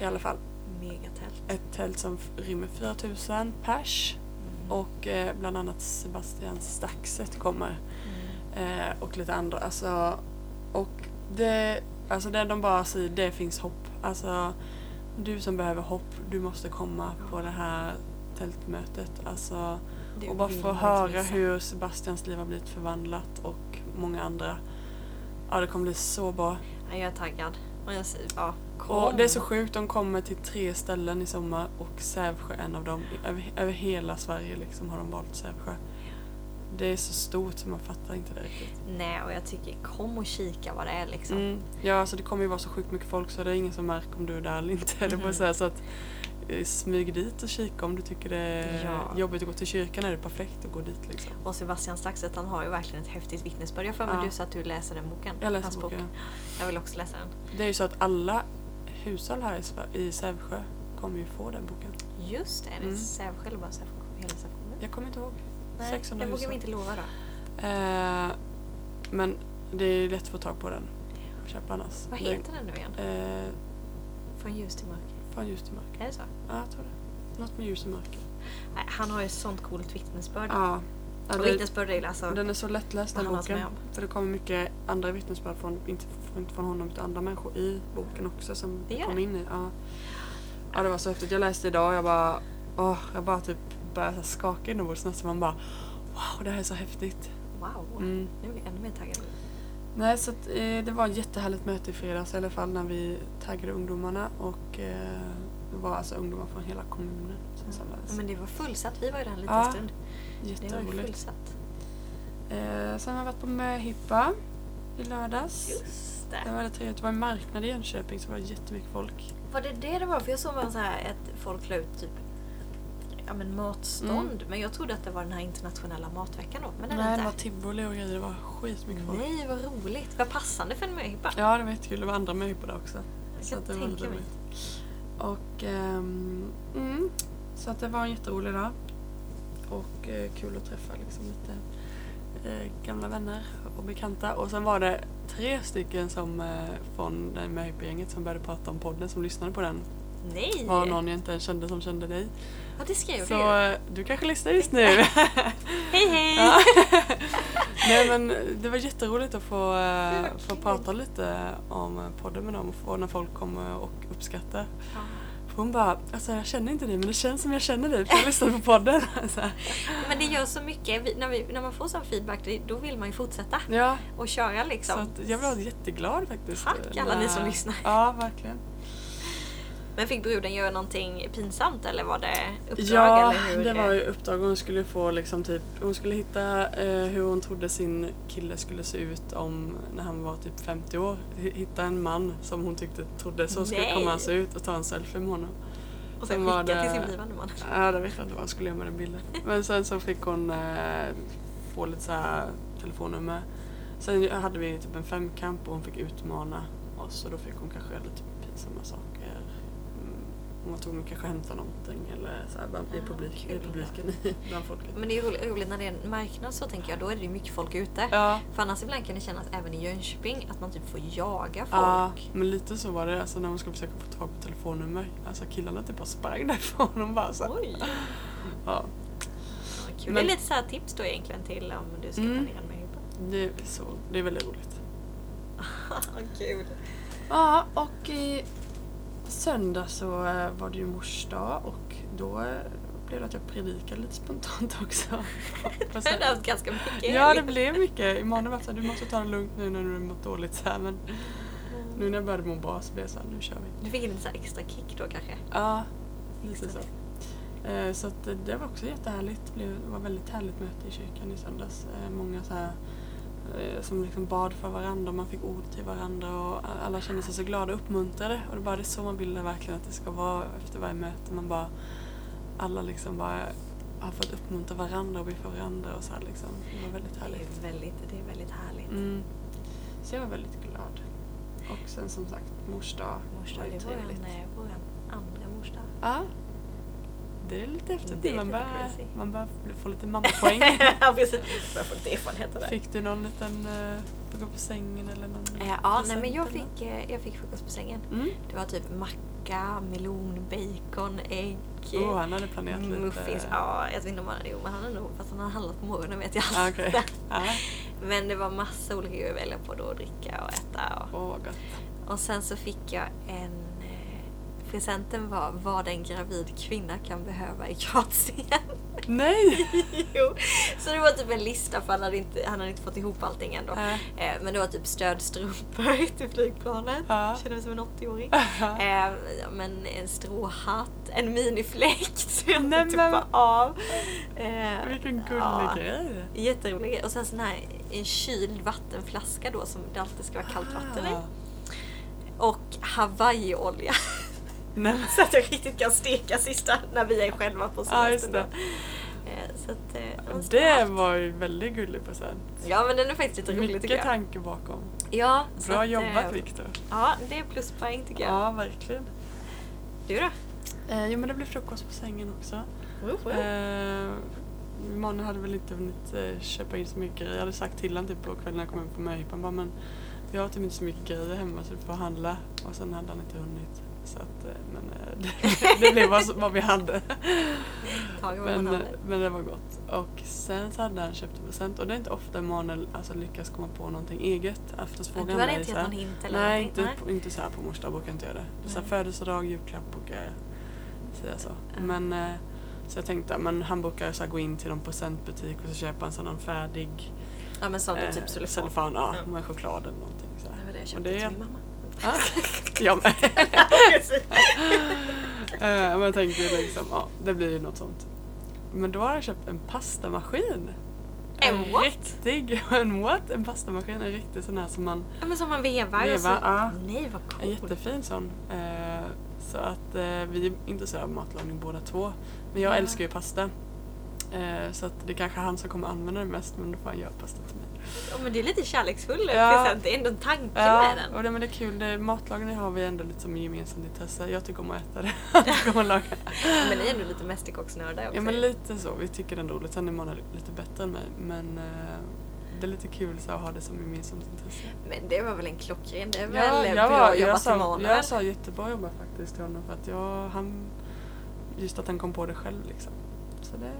Speaker 2: i alla fall.
Speaker 1: Megatält.
Speaker 2: Ett tält som f- rymmer 4000 pers
Speaker 1: Mm.
Speaker 2: och eh, bland annat Sebastian Staxet kommer.
Speaker 1: Mm.
Speaker 2: Eh, och lite andra. Alltså, och det, alltså det de bara säger, det finns hopp. Alltså, du som behöver hopp, du måste komma på det här tältmötet. Alltså,
Speaker 1: Det liksom.
Speaker 2: och bara
Speaker 1: vill
Speaker 2: få
Speaker 1: man inte
Speaker 2: höra
Speaker 1: missa.
Speaker 2: hur Sebastians liv har blivit förvandlat och många andra. Ja, det kommer bli så bra.
Speaker 1: Ja, jag är taggad. Och jag säger bara kom.
Speaker 2: Och det är så sjukt, de kommer till tre ställen i sommar och Sävsjö är en av dem. Över, över hela Sverige liksom har de valt Sävsjö. Det är så stort så man fattar inte det riktigt.
Speaker 1: Nej, och jag tycker kom och kika vad det är liksom.
Speaker 2: Mm. Ja, alltså det kommer ju vara så sjukt mycket folk så det är ingen som märker om du är där eller inte. Mm.
Speaker 1: Mhm.
Speaker 2: på så, här, så att eh, smyg dit och kika om du tycker det är
Speaker 1: Ja.
Speaker 2: jobbigt att gå till kyrkan är det perfekt att gå dit liksom.
Speaker 1: Och Sebastian Staxet han har ju verkligen ett häftigt vittnesbörd. Jag har för mig
Speaker 2: Ja.
Speaker 1: du sa att du läser den boken.
Speaker 2: Jag läser
Speaker 1: hans
Speaker 2: boken,
Speaker 1: Jag vill också läsa den.
Speaker 2: Det är ju så att alla hushåll här i, Sve- i Sävsjö kommer ju få den boken.
Speaker 1: Just det, är det
Speaker 2: Mm.
Speaker 1: Sävsjö eller bara Sävsjö? Hela Sävsjö? kommun?
Speaker 2: Jag kommer inte ihåg.
Speaker 1: Nej,
Speaker 2: 600
Speaker 1: det vågar
Speaker 2: hushåll.
Speaker 1: vi inte lova då.
Speaker 2: Eh, men det är ju lätt att få tag på den. Köp annars.
Speaker 1: Vad
Speaker 2: Det-
Speaker 1: heter den nu igen?
Speaker 2: Eh,
Speaker 1: Från ljus till mörker.
Speaker 2: från ljus till mörker.
Speaker 1: Är det så?
Speaker 2: Ja, jag tror det. Något med ljus och mörker.
Speaker 1: Nej, han har ju ett sånt coolt vittnesbörd.
Speaker 2: Ja. Ja,
Speaker 1: och
Speaker 2: det-
Speaker 1: vittnesbörd är ju alltså...
Speaker 2: Den är så lättläst den
Speaker 1: Vad han har
Speaker 2: boken.
Speaker 1: varit med
Speaker 2: För det kommer mycket andra vittnesbörd, från, inte, inte från honom utan andra människor i boken också som
Speaker 1: Det gör
Speaker 2: kom
Speaker 1: det.
Speaker 2: in i. Ja. ja, det var så häftigt. Jag läste idag och jag bara, åh, jag bara typ började så här skaka inombords nästan. Man bara, wow det här är så häftigt.
Speaker 1: Wow!
Speaker 2: Mm.
Speaker 1: Nu blir jag ännu mer taggad.
Speaker 2: Nej, så att, eh, det var ett jättehärligt möte i fredags i alla fall när vi taggade ungdomarna och eh, det var alltså ungdomar från hela kommunen som
Speaker 1: Ja,
Speaker 2: samlades.
Speaker 1: Men det var fullsatt. Vi var ju där en liten
Speaker 2: Ja,
Speaker 1: stund. Det var ju
Speaker 2: Jätteroligt.
Speaker 1: fullsatt.
Speaker 2: Eh, sen har jag varit på möhippa i lördags.
Speaker 1: Just
Speaker 2: Det var väldigt trevligt. Det var en marknad i Jönköping så det var jättemycket folk.
Speaker 1: Var det det det var? För jag såg bara så här att folk la ut typ ja, men matstånd. Men jag trodde att det var den här internationella matveckan då. Men det
Speaker 2: Mm. Nej,
Speaker 1: är
Speaker 2: det
Speaker 1: det
Speaker 2: var
Speaker 1: inte.
Speaker 2: tivoli och grejer. Det var skitmycket folk.
Speaker 1: Nej, vad roligt. Vad passande för en möhippa.
Speaker 2: Ja, det var jättekul. Det var andra människor där också.
Speaker 1: jag
Speaker 2: Så
Speaker 1: kan
Speaker 2: att det var
Speaker 1: tänka
Speaker 2: väldigt
Speaker 1: mig.
Speaker 2: roligt. Och... ehm, mm, så att det var en jätterolig dag. Och eh, kul att träffa liksom lite eh, gamla vänner och bekanta. Och sen var det tre stycken som eh, från det möhippa-gänget som började prata om podden, som lyssnade på den.
Speaker 1: Nej!
Speaker 2: Var någon jag inte ens kände som kände dig.
Speaker 1: Ja, det skrev
Speaker 2: Så
Speaker 1: jag ju.
Speaker 2: eh, du kanske lyssnar just nu.
Speaker 1: Hej hej!
Speaker 2: Ja. Nej men det var jätteroligt att få, eh,
Speaker 1: Det var
Speaker 2: få
Speaker 1: kul.
Speaker 2: prata lite om podden med dem och få när folk kommer och uppskattar.
Speaker 1: Ja.
Speaker 2: För Hon bara, alltså jag känner inte dig men det känns som jag känner dig för jag lyssnar på podden. Så här.
Speaker 1: Men det gör så mycket. Vi, när, vi, när man får sån feedback det- då vill man ju fortsätta
Speaker 2: ja,
Speaker 1: och köra
Speaker 2: så
Speaker 1: liksom.
Speaker 2: att jag blev jätteglad faktiskt.
Speaker 1: Tack, alla ni som
Speaker 2: Ja.
Speaker 1: lyssnar.
Speaker 2: Ja, verkligen.
Speaker 1: Men fick bruden göra någonting pinsamt eller var det uppdrag?
Speaker 2: Ja,
Speaker 1: eller hur?
Speaker 2: det var ju uppdrag hon skulle få liksom typ, hon skulle hitta eh, hur hon trodde sin kille skulle se ut om, när han var typ 50 år. H- Hitta en man som hon tyckte trodde så skulle
Speaker 1: Nej.
Speaker 2: komma att se ut och ta en selfie med honom.
Speaker 1: Och sen
Speaker 2: Sen var
Speaker 1: skicka till
Speaker 2: det-
Speaker 1: sin blivande man.
Speaker 2: Ja, det vet jag inte vad jag skulle göra med den bilden. Men sen så fick hon eh, få lite så här telefonnummer. Sen hade vi typ en femkamp och hon fick utmana oss och då fick hon kanske göra lite pinsamma saker. Mm, Hon tog kanske hämta någonting eller så här bara i,
Speaker 1: Ah,
Speaker 2: publik, i
Speaker 1: kul.
Speaker 2: publiken bland folket.
Speaker 1: Men det är roligt, roligt när det är en marknad så tänker jag, då är det ju mycket folk ute.
Speaker 2: Ja,
Speaker 1: För annars ibland kan det kännas även i Jönköping att man typ får jaga
Speaker 2: ja,
Speaker 1: folk.
Speaker 2: men lite så var det. Alltså när hon skulle försöka få tag på telefonnummer. Alltså killarna typ bara sprang därifrån. Hon bara så här,
Speaker 1: Oj!
Speaker 2: ja.
Speaker 1: Ja, kul.
Speaker 2: Men-
Speaker 1: Det är lite så här tips då egentligen till om du ska
Speaker 2: Mm.
Speaker 1: planera med hubben.
Speaker 2: Det är, så, det är väldigt roligt.
Speaker 1: Kul!
Speaker 2: Ja, och i söndag så eh, var det ju mors dag och då eh, blev det att jag predikade lite spontant också.
Speaker 1: Du
Speaker 2: Fast
Speaker 1: har
Speaker 2: det-
Speaker 1: haft ganska mycket
Speaker 2: ja,
Speaker 1: helg.
Speaker 2: det blev mycket. Imorgon var det så här, du måste ta det lugnt nu när du har mått dåligt. Så här, men
Speaker 1: Mm.
Speaker 2: nu när jag började må bra så blev jag så här, nu kör vi.
Speaker 1: Du fick en lite så här extra kick då kanske?
Speaker 2: Ja, lite så. Eh, Så att det- det var också jättehärligt. Det blev- det var ett väldigt härligt möte i kyrkan i söndags. Eh, Många så här, eh, som liksom bad för varandra och man fick ord till varandra och a- alla kände sig så glada och uppmuntrade. Och det bara det är så man vill verkligen att det ska vara efter varje möte. Man bara, alla liksom bara har fått uppmuntra varandra och be för varandra och så här liksom. Det var väldigt
Speaker 1: Det
Speaker 2: härligt.
Speaker 1: är väldigt, det är väldigt härligt.
Speaker 2: Mm. Så jag var väldigt glad. Och sen som sagt, mors dag
Speaker 1: Morsdag,
Speaker 2: var ju
Speaker 1: det var en,
Speaker 2: trevligt.
Speaker 1: eh, vår andra morsdag.
Speaker 2: Ja. Det är lite häftigt.
Speaker 1: Det är
Speaker 2: man,
Speaker 1: lite
Speaker 2: börjar,
Speaker 1: crazy.
Speaker 2: man börjar få lite mammapoäng.
Speaker 1: ja precis, jag får lite erfarenhet av det.
Speaker 2: fick du någon liten eh, få gå på sängen eller någon
Speaker 1: Eh, ja, nej,
Speaker 2: present
Speaker 1: men jag
Speaker 2: eller något?
Speaker 1: fick, eh, jag fick frukost på sängen.
Speaker 2: Mm.
Speaker 1: Det var typ macka, melon, bacon, ägg.
Speaker 2: Oh, han hade planerat lite.
Speaker 1: Mm, Muffins, ja jag vet inte om han hade gjort men han hade nog, fast han hade handlat på morgonen vet jag.
Speaker 2: Ah, okej. Ja,
Speaker 1: Men det var massa olika grejer att välja på då, att dricka och äta.
Speaker 2: åh vad gott.
Speaker 1: Och, och sen så fick jag en... eh, Presenten var vad en gravid kvinna kan behöva i Kroatien.
Speaker 2: Nej!
Speaker 1: jo. Så det var typ en lista för han hade inte, han hade inte fått ihop allting ändå.
Speaker 2: Nej.
Speaker 1: Eh, Men det var typ stödstrumpor till flygplanet.
Speaker 2: Ja.
Speaker 1: Kände mig som en 80-åring.
Speaker 2: Ja.
Speaker 1: Eh, ja, Men en stråhatt, en minifläkt så jag
Speaker 2: Nej,
Speaker 1: inte tuppa
Speaker 2: men-
Speaker 1: av. Eh,
Speaker 2: Vilken gullig
Speaker 1: ja.
Speaker 2: grej.
Speaker 1: Jätterolig grej. Och sen sån här en kyld vattenflaska då som det alltid ska vara kallt vatten i.
Speaker 2: Ah.
Speaker 1: Och hawaiiolja.
Speaker 2: Nej, men-
Speaker 1: så att jag riktigt kan steka sista när vi är själva på
Speaker 2: Ja,
Speaker 1: semestern.
Speaker 2: just det.
Speaker 1: då. Eh, Så att, eh, det var en stor
Speaker 2: Det
Speaker 1: hatt.
Speaker 2: var ju väldigt gullig present.
Speaker 1: Ja men den är faktiskt lite rolig tycker
Speaker 2: Mycket
Speaker 1: jag.
Speaker 2: tanke bakom.
Speaker 1: Ja, så
Speaker 2: Bra
Speaker 1: att, eh,
Speaker 2: jobbat Viktor.
Speaker 1: Ja, det är pluspoäng tycker jag.
Speaker 2: Ja, verkligen.
Speaker 1: Du då?
Speaker 2: Eh, jo men det blev frukost på sängen också. Eh, Mannen hade väl inte hunnit eh, köpa in så mycket grejer. Jag hade sagt till honom typ på kvällen när jag kom hem på möhippan bara men jag har typ inte så mycket grejer hemma så du får handla. Och sen hade han inte hunnit. Så att, eh, men eh, det, det blev vad, som- vad vi hade.
Speaker 1: Ta det vad man
Speaker 2: Men, eh,
Speaker 1: hade.
Speaker 2: men det var gott. Och sen så hade han köpt en present och det är inte ofta Emanuel alltså, lyckas komma på någonting eget. Oftast frågar
Speaker 1: Du hade
Speaker 2: mig
Speaker 1: inte
Speaker 2: så
Speaker 1: gett
Speaker 2: här-
Speaker 1: någon hint eller
Speaker 2: Nej,
Speaker 1: någonting?
Speaker 2: inte, På, inte så här på mors dag brukar jag inte göra det. det är så här
Speaker 1: Nej.
Speaker 2: födelsedag, julklapp och eh, säga så.
Speaker 1: Ja.
Speaker 2: Men, eh, så jag tänkte ja, men han brukar så här, gå in till någon presentbutik och så köper han så någon färdig
Speaker 1: Ja men sånt du
Speaker 2: eh,
Speaker 1: typ skulle få.
Speaker 2: cellofan, ja,
Speaker 1: Ja.
Speaker 2: med choklad eller någonting. Så här.
Speaker 1: Det var det jag
Speaker 2: Och
Speaker 1: köpte
Speaker 2: det-
Speaker 1: till min mamma.
Speaker 2: Ja, jag med. Eh, men jag tänkte liksom, ja det blir ju något sånt. Men då har jag köpt en pastamaskin.
Speaker 1: En what?
Speaker 2: riktig, en what? En pastamaskin, en riktig sån här som man
Speaker 1: Ja men som man vevar och så...
Speaker 2: Vevar, ja.
Speaker 1: Nej vad
Speaker 2: En
Speaker 1: coolt.
Speaker 2: jättefin sån. Eh, så att eh, vi är intresserade av matlagning båda två. Men jag
Speaker 1: Ja.
Speaker 2: älskar ju pasta. Eh, så att det kanske är han som kommer använda den mest men då får han göra pasta till mig.
Speaker 1: Ja, men det är lite kärleksfull
Speaker 2: Ja.
Speaker 1: present. Det är ändå en tanke
Speaker 2: Ja,
Speaker 1: med den.
Speaker 2: och det, men det är kul. Det, matlagning har vi ändå lite som gemensamt intresse. Jag tycker om att äta det. Han tycker om att laga.
Speaker 1: Ja, men ni är ändå lite mästerkocksnördar också.
Speaker 2: Ja men lite så. Vi tycker ändå roligt. Sen är man lite bättre än mig. Men eh, det är lite kul så att ha det som gemensamt intresse.
Speaker 1: Men det var väl en klockren. Det är
Speaker 2: Ja,
Speaker 1: väl bra
Speaker 2: var-
Speaker 1: jobbat
Speaker 2: jag
Speaker 1: till
Speaker 2: sa,
Speaker 1: Manuel.
Speaker 2: jag sa jättebra jobbat faktiskt till honom för att jag, han, just att han kom på det själv liksom. Så det,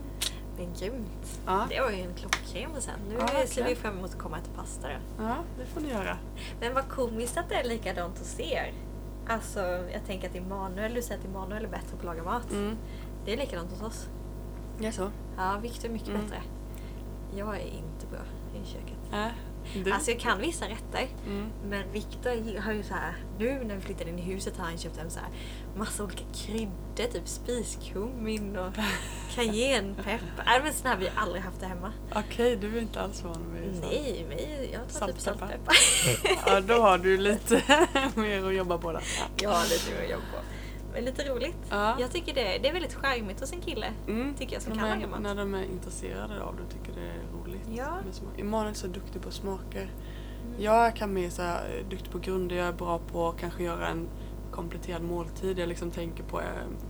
Speaker 1: Men grymt.
Speaker 2: ja,
Speaker 1: Det var ju en klockren present. Nu
Speaker 2: Ja,
Speaker 1: ser vi
Speaker 2: verkligen.
Speaker 1: fram emot att komma och äta pasta då.
Speaker 2: ja det får ni göra.
Speaker 1: Men vad komiskt att det är likadant hos er. Alltså jag tänker att Emanuel, du säger att Emanuel är bättre på att laga mat.
Speaker 2: Mm.
Speaker 1: Det är likadant hos oss.
Speaker 2: Ja, så.
Speaker 1: Ja, Victor är mycket
Speaker 2: Mm.
Speaker 1: bättre. Jag är inte bra i köket.
Speaker 2: Äh, du?
Speaker 1: Alltså jag kan vissa rätter.
Speaker 2: mm.
Speaker 1: Men Victor har ju så här, nu när vi flyttade in i huset har han köpt hem så här massa olika kryddor, typ spiskummin och cayennepeppar. Nej men sådana här vi aldrig haft det hemma.
Speaker 2: Okej, du är inte alls van vid sånt.
Speaker 1: Nej, mig, jag tar typ
Speaker 2: Saltpeppar.
Speaker 1: saltpeppar.
Speaker 2: Ja, då har du lite mer att jobba på där.
Speaker 1: ja, lite mer jobb på. är lite roligt.
Speaker 2: Ja.
Speaker 1: Jag tycker det, det är väldigt charmigt hos en kille.
Speaker 2: Mm.
Speaker 1: tycker jag som
Speaker 2: de
Speaker 1: kan
Speaker 2: är,
Speaker 1: laga mat.
Speaker 2: När de är intresserade av det tycker det är roligt.
Speaker 1: Ja. Mm.
Speaker 2: Med smak. Emanuel är så duktig på smaker. Jag kan mer så här, eh, duktig på grunder, jag är bra på att kanske göra en kompletterad måltid. Jag liksom tänker på eh,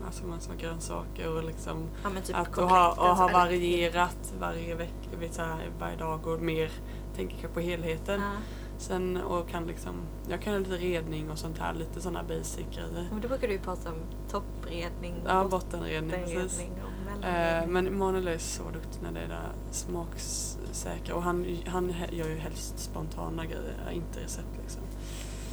Speaker 2: alltså, massa grönsaker och liksom
Speaker 1: Ja, men typ
Speaker 2: att och
Speaker 1: kokt
Speaker 2: ha,
Speaker 1: rätter
Speaker 2: och
Speaker 1: så
Speaker 2: ha
Speaker 1: här.
Speaker 2: varierat varje vecka, vet, så här, varje dag och mer tänker jag på helheten.
Speaker 1: Ja.
Speaker 2: Sen och kan liksom, jag kan göra lite redning och sånt här, lite sådana basic grejer.
Speaker 1: Men då brukar du ju prata om toppredning,
Speaker 2: Ja, bottenredning precis.
Speaker 1: bottenredning och
Speaker 2: Eh,
Speaker 1: mellanredning.
Speaker 2: men Emanuel är så duktig när det är där smaksäkra och han, han he- gör ju helst spontana grejer, inte recept liksom.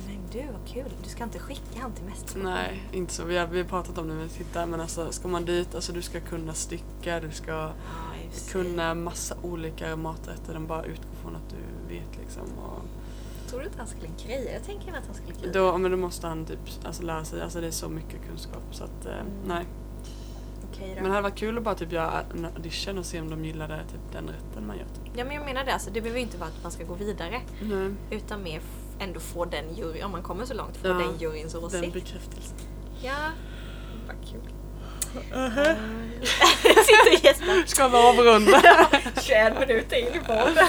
Speaker 1: Men du, vad kul. Du ska inte skicka han till mästerkocken.
Speaker 2: Nej, inte så. Vi har, vi har pratat om det när vi tittar men alltså ska man dit, alltså du ska kunna stycka, du ska
Speaker 1: Ja, i och för sig.
Speaker 2: kunna massa olika maträtter, den bara utgår från att du vet liksom. Och
Speaker 1: Tror du inte han skulle greja? Jag tänker att han skulle greja.
Speaker 2: då, men då måste han typ alltså, lära sig, alltså det är så mycket kunskap så att eh,
Speaker 1: Mm.
Speaker 2: nej.
Speaker 1: Okej
Speaker 2: Men
Speaker 1: då.
Speaker 2: det hade varit kul att bara typ göra en audition och se om de gillade typ den rätten man gör. Typ.
Speaker 1: Ja men jag menar det, alltså, det behöver ju inte vara att man ska gå vidare.
Speaker 2: Nej.
Speaker 1: Utan mer f- ändå få den jury, om man kommer så långt, få
Speaker 2: Ja,
Speaker 1: den juryns
Speaker 2: Den
Speaker 1: åsikt.
Speaker 2: bekräftelsen.
Speaker 1: ja. Vad kul. Jag sitter och gästar.
Speaker 2: Mm. Ska vi avrunda?
Speaker 1: 21 minuter in i podden.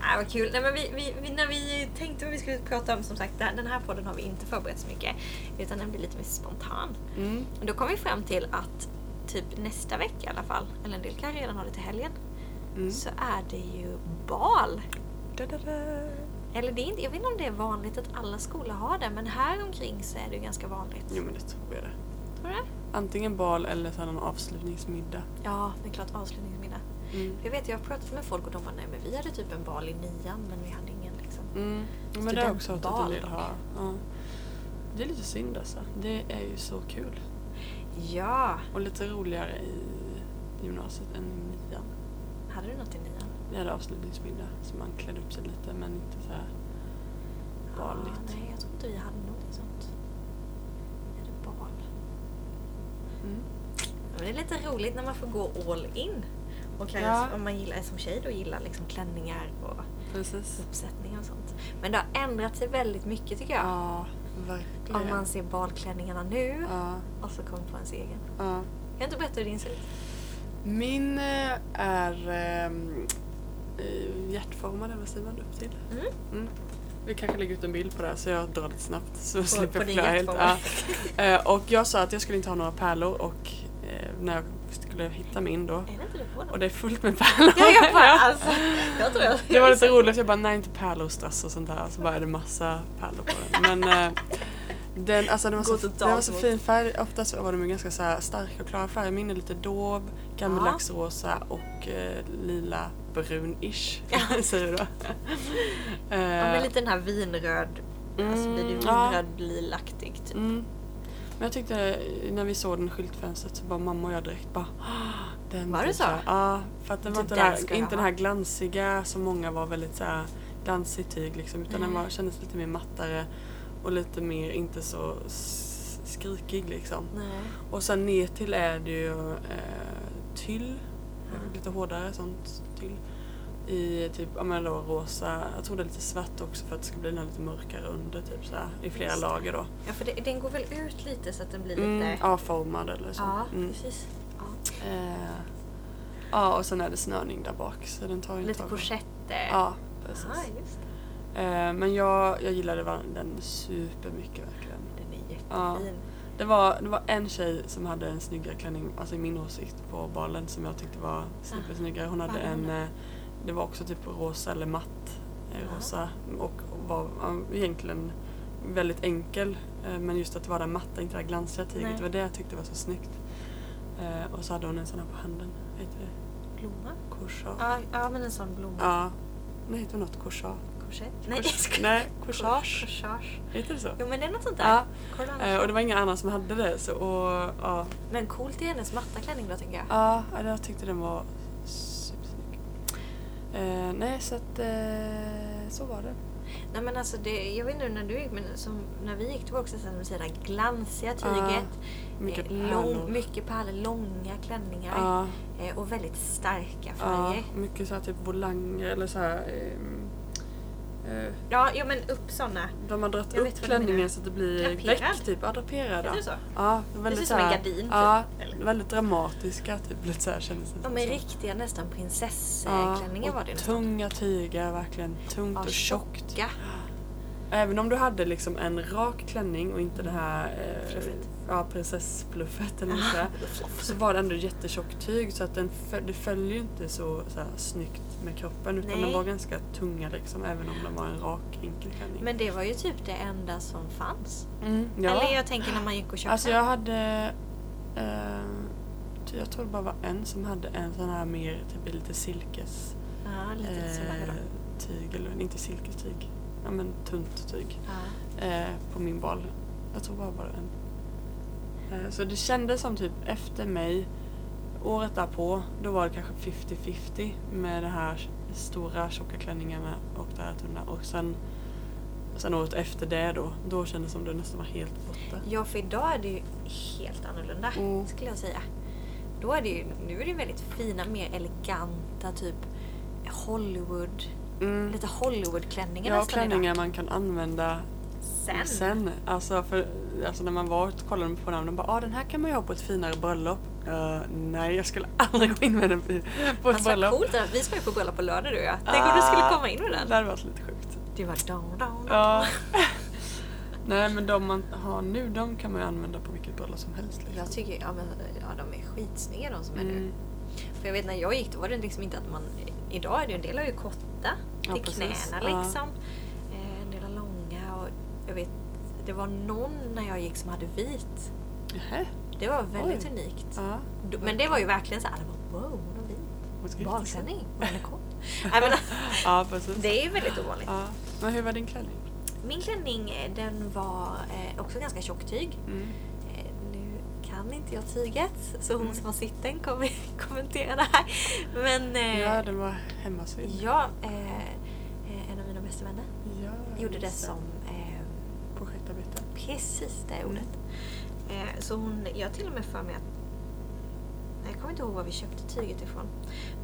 Speaker 1: Ah, vad kul. Nej, men vi, vi, vi, när vi tänkte vad vi skulle prata om, som sagt, den den här podden har vi inte förberett så mycket. Utan den blir lite mer spontan.
Speaker 2: Mm.
Speaker 1: Och Då kom vi fram till att typ nästa vecka i alla fall, eller en del kan redan ha det till helgen,
Speaker 2: Mm.
Speaker 1: så är det ju bal.
Speaker 2: Da, da, da.
Speaker 1: Eller det är inte, jag vet inte om det är vanligt att alla skolor har det, men här omkring så är det ju ganska vanligt.
Speaker 2: Jo men det tror jag det.
Speaker 1: Tror du det?
Speaker 2: Antingen bal eller så här någon avslutningsmiddag.
Speaker 1: Ja, det är klart avslutningsmiddag.
Speaker 2: Mm.
Speaker 1: Jag vet, jag har pratat med folk och de bara nej men vi hade typ en bal i nian men vi hade ingen liksom.
Speaker 2: Mm. Ja, Men det har jag också hört att
Speaker 1: Studentbal
Speaker 2: en del har. Ja. Det är lite synd alltså. Det är ju så kul.
Speaker 1: Ja!
Speaker 2: Och lite roligare i gymnasiet än i nian.
Speaker 1: Hade du något i nian?
Speaker 2: Vi hade avslutningsmiddag så man klädde upp sig lite men inte så här
Speaker 1: Ja,
Speaker 2: baligt.
Speaker 1: nej, jag tror inte vi hade något sånt. Vi hade bal.
Speaker 2: Mm.
Speaker 1: Ja, Men det är lite roligt när man får gå all in. Och klä
Speaker 2: Ja.
Speaker 1: sig- om man gillar som tjej då gillar liksom klänningar och
Speaker 2: Precis.
Speaker 1: uppsättningar och sånt. Men det har ändrat sig väldigt mycket tycker jag.
Speaker 2: Ja,
Speaker 1: Om
Speaker 2: verkligen.
Speaker 1: man ser balklänningarna nu
Speaker 2: Ja,
Speaker 1: och så kommer på ens egen.
Speaker 2: ja.
Speaker 1: Jag har inte berättat hur din ser ut.
Speaker 2: Min eh, är ehm, eh, hjärtformad, eller vad säger man, upp till?
Speaker 1: Mm.
Speaker 2: Mm. Vi kanske lägger ut en bild på det här så jag drar lite snabbt så
Speaker 1: På-
Speaker 2: slipper
Speaker 1: på
Speaker 2: jag
Speaker 1: din
Speaker 2: flöja helt.
Speaker 1: hjärtformade.
Speaker 2: Ja. Eh, Och jag sa att jag skulle inte ha några pärlor och eh, när jag skulle hitta min då
Speaker 1: Är det inte du på
Speaker 2: och
Speaker 1: den?
Speaker 2: det är fullt med pärlor.
Speaker 1: Ja, jag bara alltså. Jag tror jag
Speaker 2: Det var lite roligt, jag bara nej inte pärlor och strass och sånt där så bara är det massa pärlor på den. Men eh, den, alltså, den, var så,
Speaker 1: Går totalt
Speaker 2: den var så
Speaker 1: mot-
Speaker 2: fin färg, oftast var de ju ganska så här starka och klara färger. Min är lite dov, gammeldags rosa och eh, lila brun-ish säger du då.
Speaker 1: Ja,
Speaker 2: Eh,
Speaker 1: men lite den här vinröd. Alltså blir det
Speaker 2: Mm, ja.
Speaker 1: vinröd lilaktig typ.
Speaker 2: Mm. Men jag tyckte när vi såg den i skyltfönstret så bara mamma och jag direkt bara "Ah, den
Speaker 1: Var det
Speaker 2: typ
Speaker 1: så?
Speaker 2: här." Ja, för att den var
Speaker 1: Den
Speaker 2: inte,
Speaker 1: där
Speaker 2: den
Speaker 1: ska
Speaker 2: här,
Speaker 1: jag
Speaker 2: inte den
Speaker 1: ha.
Speaker 2: här glansiga som många var väldigt så här glansigt tyg liksom utan den
Speaker 1: Mm.
Speaker 2: var, kändes lite mer mattare och lite mer inte så s- skrikig liksom.
Speaker 1: Nej.
Speaker 2: Och sen ner till är det ju eh, tyll, lite hårdare sånt tyll. I typ, ja men då rosa, jag tror det är lite svart också för att det ska bli den här lite mörkare under typ så här, i flera
Speaker 1: Just det.
Speaker 2: lager då.
Speaker 1: Ja för det, den går väl ut lite så att den blir
Speaker 2: Mm,
Speaker 1: lite...
Speaker 2: A-formad eller så.
Speaker 1: Ja,
Speaker 2: mm.
Speaker 1: precis. Ja.
Speaker 2: eh, ja, och sen är det snörning där bak så den tar ju
Speaker 1: Lite
Speaker 2: tag.
Speaker 1: korsetter.
Speaker 2: Ja, precis.
Speaker 1: Ah, just det.
Speaker 2: Eh, men jag, jag gillade va- den supermycket verkligen.
Speaker 1: Den är jättefin.
Speaker 2: Ja. Det var, det var en tjej som hade en snyggare klänning, alltså i min åsikt, på balen som jag tyckte var supersnyggare. Hon hade
Speaker 1: Vad hade hon
Speaker 2: en,
Speaker 1: då?
Speaker 2: eh, det var också typ rosa eller matt eh,
Speaker 1: Jaha.
Speaker 2: rosa och var ja, egentligen väldigt enkel. eh, Men just att det var det matta, inte det här glansiga tyget,
Speaker 1: Nej.
Speaker 2: det var det jag tyckte var så snyggt. Eh, Och så hade hon en sån här på handen, Vad heter det?
Speaker 1: Blomma?
Speaker 2: Korsar.
Speaker 1: Ja, ja men en sån blomma.
Speaker 2: Ja. Nej, heter det något? Korsar?
Speaker 1: Korsett? Nej, jag
Speaker 2: Kors-
Speaker 1: skojar.
Speaker 2: Nej, korsage.
Speaker 1: Korsage.
Speaker 2: Heter det så?
Speaker 1: Jo men det är något sånt där.
Speaker 2: Ja.
Speaker 1: Korsage.
Speaker 2: Eh, Och det var ingen annan som hade det så och, ja.
Speaker 1: Men coolt i hennes matta klänning då tänker jag.
Speaker 2: Ja, ja, jag tyckte den var supersnygg. Eh, nej, så att eh, så var det.
Speaker 1: Nej men alltså det, jag vet inte när du gick men som, när vi gick det var också såhär, som du säger, det här glansiga
Speaker 2: Ja,
Speaker 1: tyget. Eh,
Speaker 2: mycket pärlor.
Speaker 1: lång, mycket pärlor, långa klänningar.
Speaker 2: Ja,
Speaker 1: Eh, och väldigt starka
Speaker 2: ja, Mm.
Speaker 1: färger.
Speaker 2: mycket så här typ volanger eller så här eh, eh,
Speaker 1: Ja, jo, men upp såna.
Speaker 2: De har dragit
Speaker 1: Jag
Speaker 2: upp
Speaker 1: vet vad du menar.
Speaker 2: klänningen så att det blir
Speaker 1: Draperad.
Speaker 2: väck typ. Ja, draperad.
Speaker 1: Heter
Speaker 2: ja.
Speaker 1: det så?
Speaker 2: Ja,
Speaker 1: Det
Speaker 2: väldigt
Speaker 1: ser ut som en
Speaker 2: såhär-
Speaker 1: gardin
Speaker 2: Ja,
Speaker 1: typ. Eller?
Speaker 2: väldigt dramatiska typ. Lite såhär kändes det
Speaker 1: De är riktiga nästan prinsessklänningar
Speaker 2: Ja,
Speaker 1: var
Speaker 2: och
Speaker 1: det ju nästan.
Speaker 2: tunga tyger verkligen. Tungt
Speaker 1: Ja,
Speaker 2: och tjockt.
Speaker 1: tjocka.
Speaker 2: Även om du hade liksom en rak klänning och inte det här eh,
Speaker 1: Fluffigt.
Speaker 2: ja, prinsessbluffet eller inte, så var det ändå jättetjockt tyg så att den föl- det föll ju inte så, så här, snyggt med kroppen utan
Speaker 1: Nej.
Speaker 2: den var ganska tunga liksom även om den var en rak enkel klänning.
Speaker 1: Men det var ju typ det enda som fanns.
Speaker 2: Mm, ja.
Speaker 1: Eller jag tänker när man gick och köpte.
Speaker 2: Alltså jag hade... Eh, ty- jag tror det bara var en som hade en sån här mer typ lite silkes...
Speaker 1: Ja, lite så var det då.
Speaker 2: eh, tyg, eller inte silkestyg. Ja men tunt tyg.
Speaker 1: Ja.
Speaker 2: Eh, på min bal. Jag tror bara det var en. Eh, så det kändes som typ efter mig, året därpå, då var det kanske 50-50 med de här stora tjocka klänningarna och det här tunna. Och sen, sen året efter det då, då kändes det som det nästan var helt borta.
Speaker 1: Ja, för idag är det ju helt annorlunda
Speaker 2: Mm.
Speaker 1: skulle jag säga. Då är det ju, nu är det ju väldigt fina, mer eleganta typ Hollywood,
Speaker 2: Mm.
Speaker 1: lite Hollywoodklänningar
Speaker 2: Ja,
Speaker 1: nästan
Speaker 2: klänningar
Speaker 1: idag.
Speaker 2: man kan använda
Speaker 1: Sen.
Speaker 2: sen. Alltså, för, alltså när man var och kollade på namnen bara ah, den här kan man ju ha på ett finare bröllop. Eh, nej, jag skulle aldrig gå in med den på på ett
Speaker 1: Alltså vad
Speaker 2: bröllop.
Speaker 1: coolt att vi ska ju på bröllop på lördag du och jag. Tänk
Speaker 2: Ah.
Speaker 1: om du skulle komma in med den. Oh
Speaker 2: Det hade varit lite sjukt.
Speaker 1: Det var down, down,
Speaker 2: Ja. nej, men de man har nu, de kan man ju använda på vilket bröllop som helst. liksom.
Speaker 1: Jag tycker ja, men, ja, de är skitsnygga de som är nu.
Speaker 2: Mm.
Speaker 1: För jag vet när jag gick då var det liksom inte att man... Idag är det ju en del har ju korta
Speaker 2: Ja,
Speaker 1: till
Speaker 2: precis.
Speaker 1: knäna
Speaker 2: Ja.
Speaker 1: liksom. Eh, En del har långa och jag vet... Det var någon när jag gick som hade vit.
Speaker 2: Nähä.
Speaker 1: Det var väldigt
Speaker 2: Oj.
Speaker 1: unikt.
Speaker 2: Ja.
Speaker 1: Då- Men det var ju verkligen så här, alla bara wow, hon har vit.
Speaker 2: Vad ska jag göra?
Speaker 1: Balklänning, och den är kort. Nej, men,
Speaker 2: Ja, precis.
Speaker 1: det är ju väldigt ovanligt.
Speaker 2: Ja. Men hur var din klänning?
Speaker 1: Min klänning eh, den var eh, också ganska tjock tyg.
Speaker 2: Mm.
Speaker 1: Eh, Nu kan inte jag tyget, så hon
Speaker 2: Mm.
Speaker 1: som har sytt den kommer kommentera det här. Men... eh,
Speaker 2: Ja, den var hemmasydd.
Speaker 1: Ja, eh, eh, en av mina bästa vänner
Speaker 2: Ja,
Speaker 1: gjorde det
Speaker 2: just
Speaker 1: som eh,
Speaker 2: Projektarbete.
Speaker 1: precis det ordet. Eh, så hon, jag har till och med för mig att Nej, jag kommer inte ihåg var vi köpte tyget ifrån.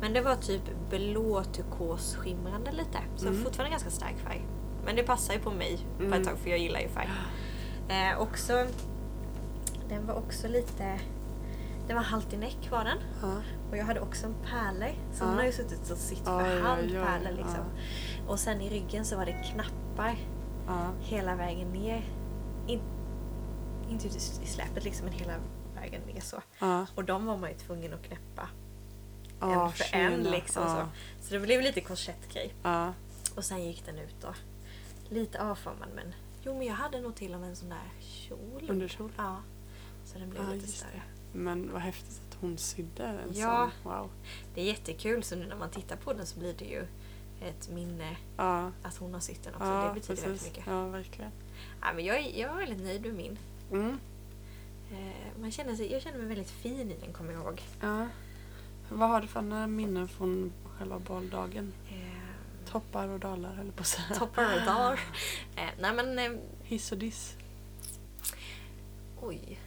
Speaker 1: Men det var typ blå turkos skimrande lite. Så
Speaker 2: Mm.
Speaker 1: fortfarande ganska stark färg. Men det passar ju på mig på
Speaker 2: Mm.
Speaker 1: ett tag för jag gillar ju färg. Eh, också, den var också lite... Den var halt i näck var den.
Speaker 2: Ja.
Speaker 1: Och jag hade också en pärla Så hon
Speaker 2: Ja.
Speaker 1: har ju suttit och sytt för
Speaker 2: Aj, aj,
Speaker 1: hand
Speaker 2: aj,
Speaker 1: pärlor
Speaker 2: ja.
Speaker 1: liksom. Och sen i ryggen så var det knappar
Speaker 2: Ja.
Speaker 1: hela vägen ner. In, inte ut i s- i släpet liksom men hela vägen ner så.
Speaker 2: Ja.
Speaker 1: Och de var man ju tvungen att knäppa
Speaker 2: Ja,
Speaker 1: en för
Speaker 2: tjena.
Speaker 1: en liksom.
Speaker 2: ja.
Speaker 1: Så. så det blev lite korsettgrej.
Speaker 2: Ja.
Speaker 1: Och sen gick den ut då. Lite avformad men jo men jag hade nog till och med en sån där kjol.
Speaker 2: Underkjol.
Speaker 1: Ja. Så den blev
Speaker 2: Ja,
Speaker 1: lite
Speaker 2: just
Speaker 1: större.
Speaker 2: Men vad häftigt att hon sydde en
Speaker 1: Ja.
Speaker 2: sån. Wow.
Speaker 1: Det är jättekul så nu när man tittar på den så blir det ju ett minne
Speaker 2: Ja.
Speaker 1: att hon har sytt den också.
Speaker 2: Ja,
Speaker 1: Alltså, det betyder väldigt
Speaker 2: precis.
Speaker 1: mycket.
Speaker 2: Ja, verkligen.
Speaker 1: Ja, men jag, är, jag är väldigt nöjd med min.
Speaker 2: Mm.
Speaker 1: Eh, Man känner sig, jag känner mig väldigt fin i den kommer jag ihåg.
Speaker 2: Ja. Vad har du för andra minnen från själva baldagen?
Speaker 1: Eh,
Speaker 2: Toppar och dalar höll jag på att säga.
Speaker 1: Toppar och dalar. Eh, Nej men eh,
Speaker 2: Hiss och diss.
Speaker 1: oj.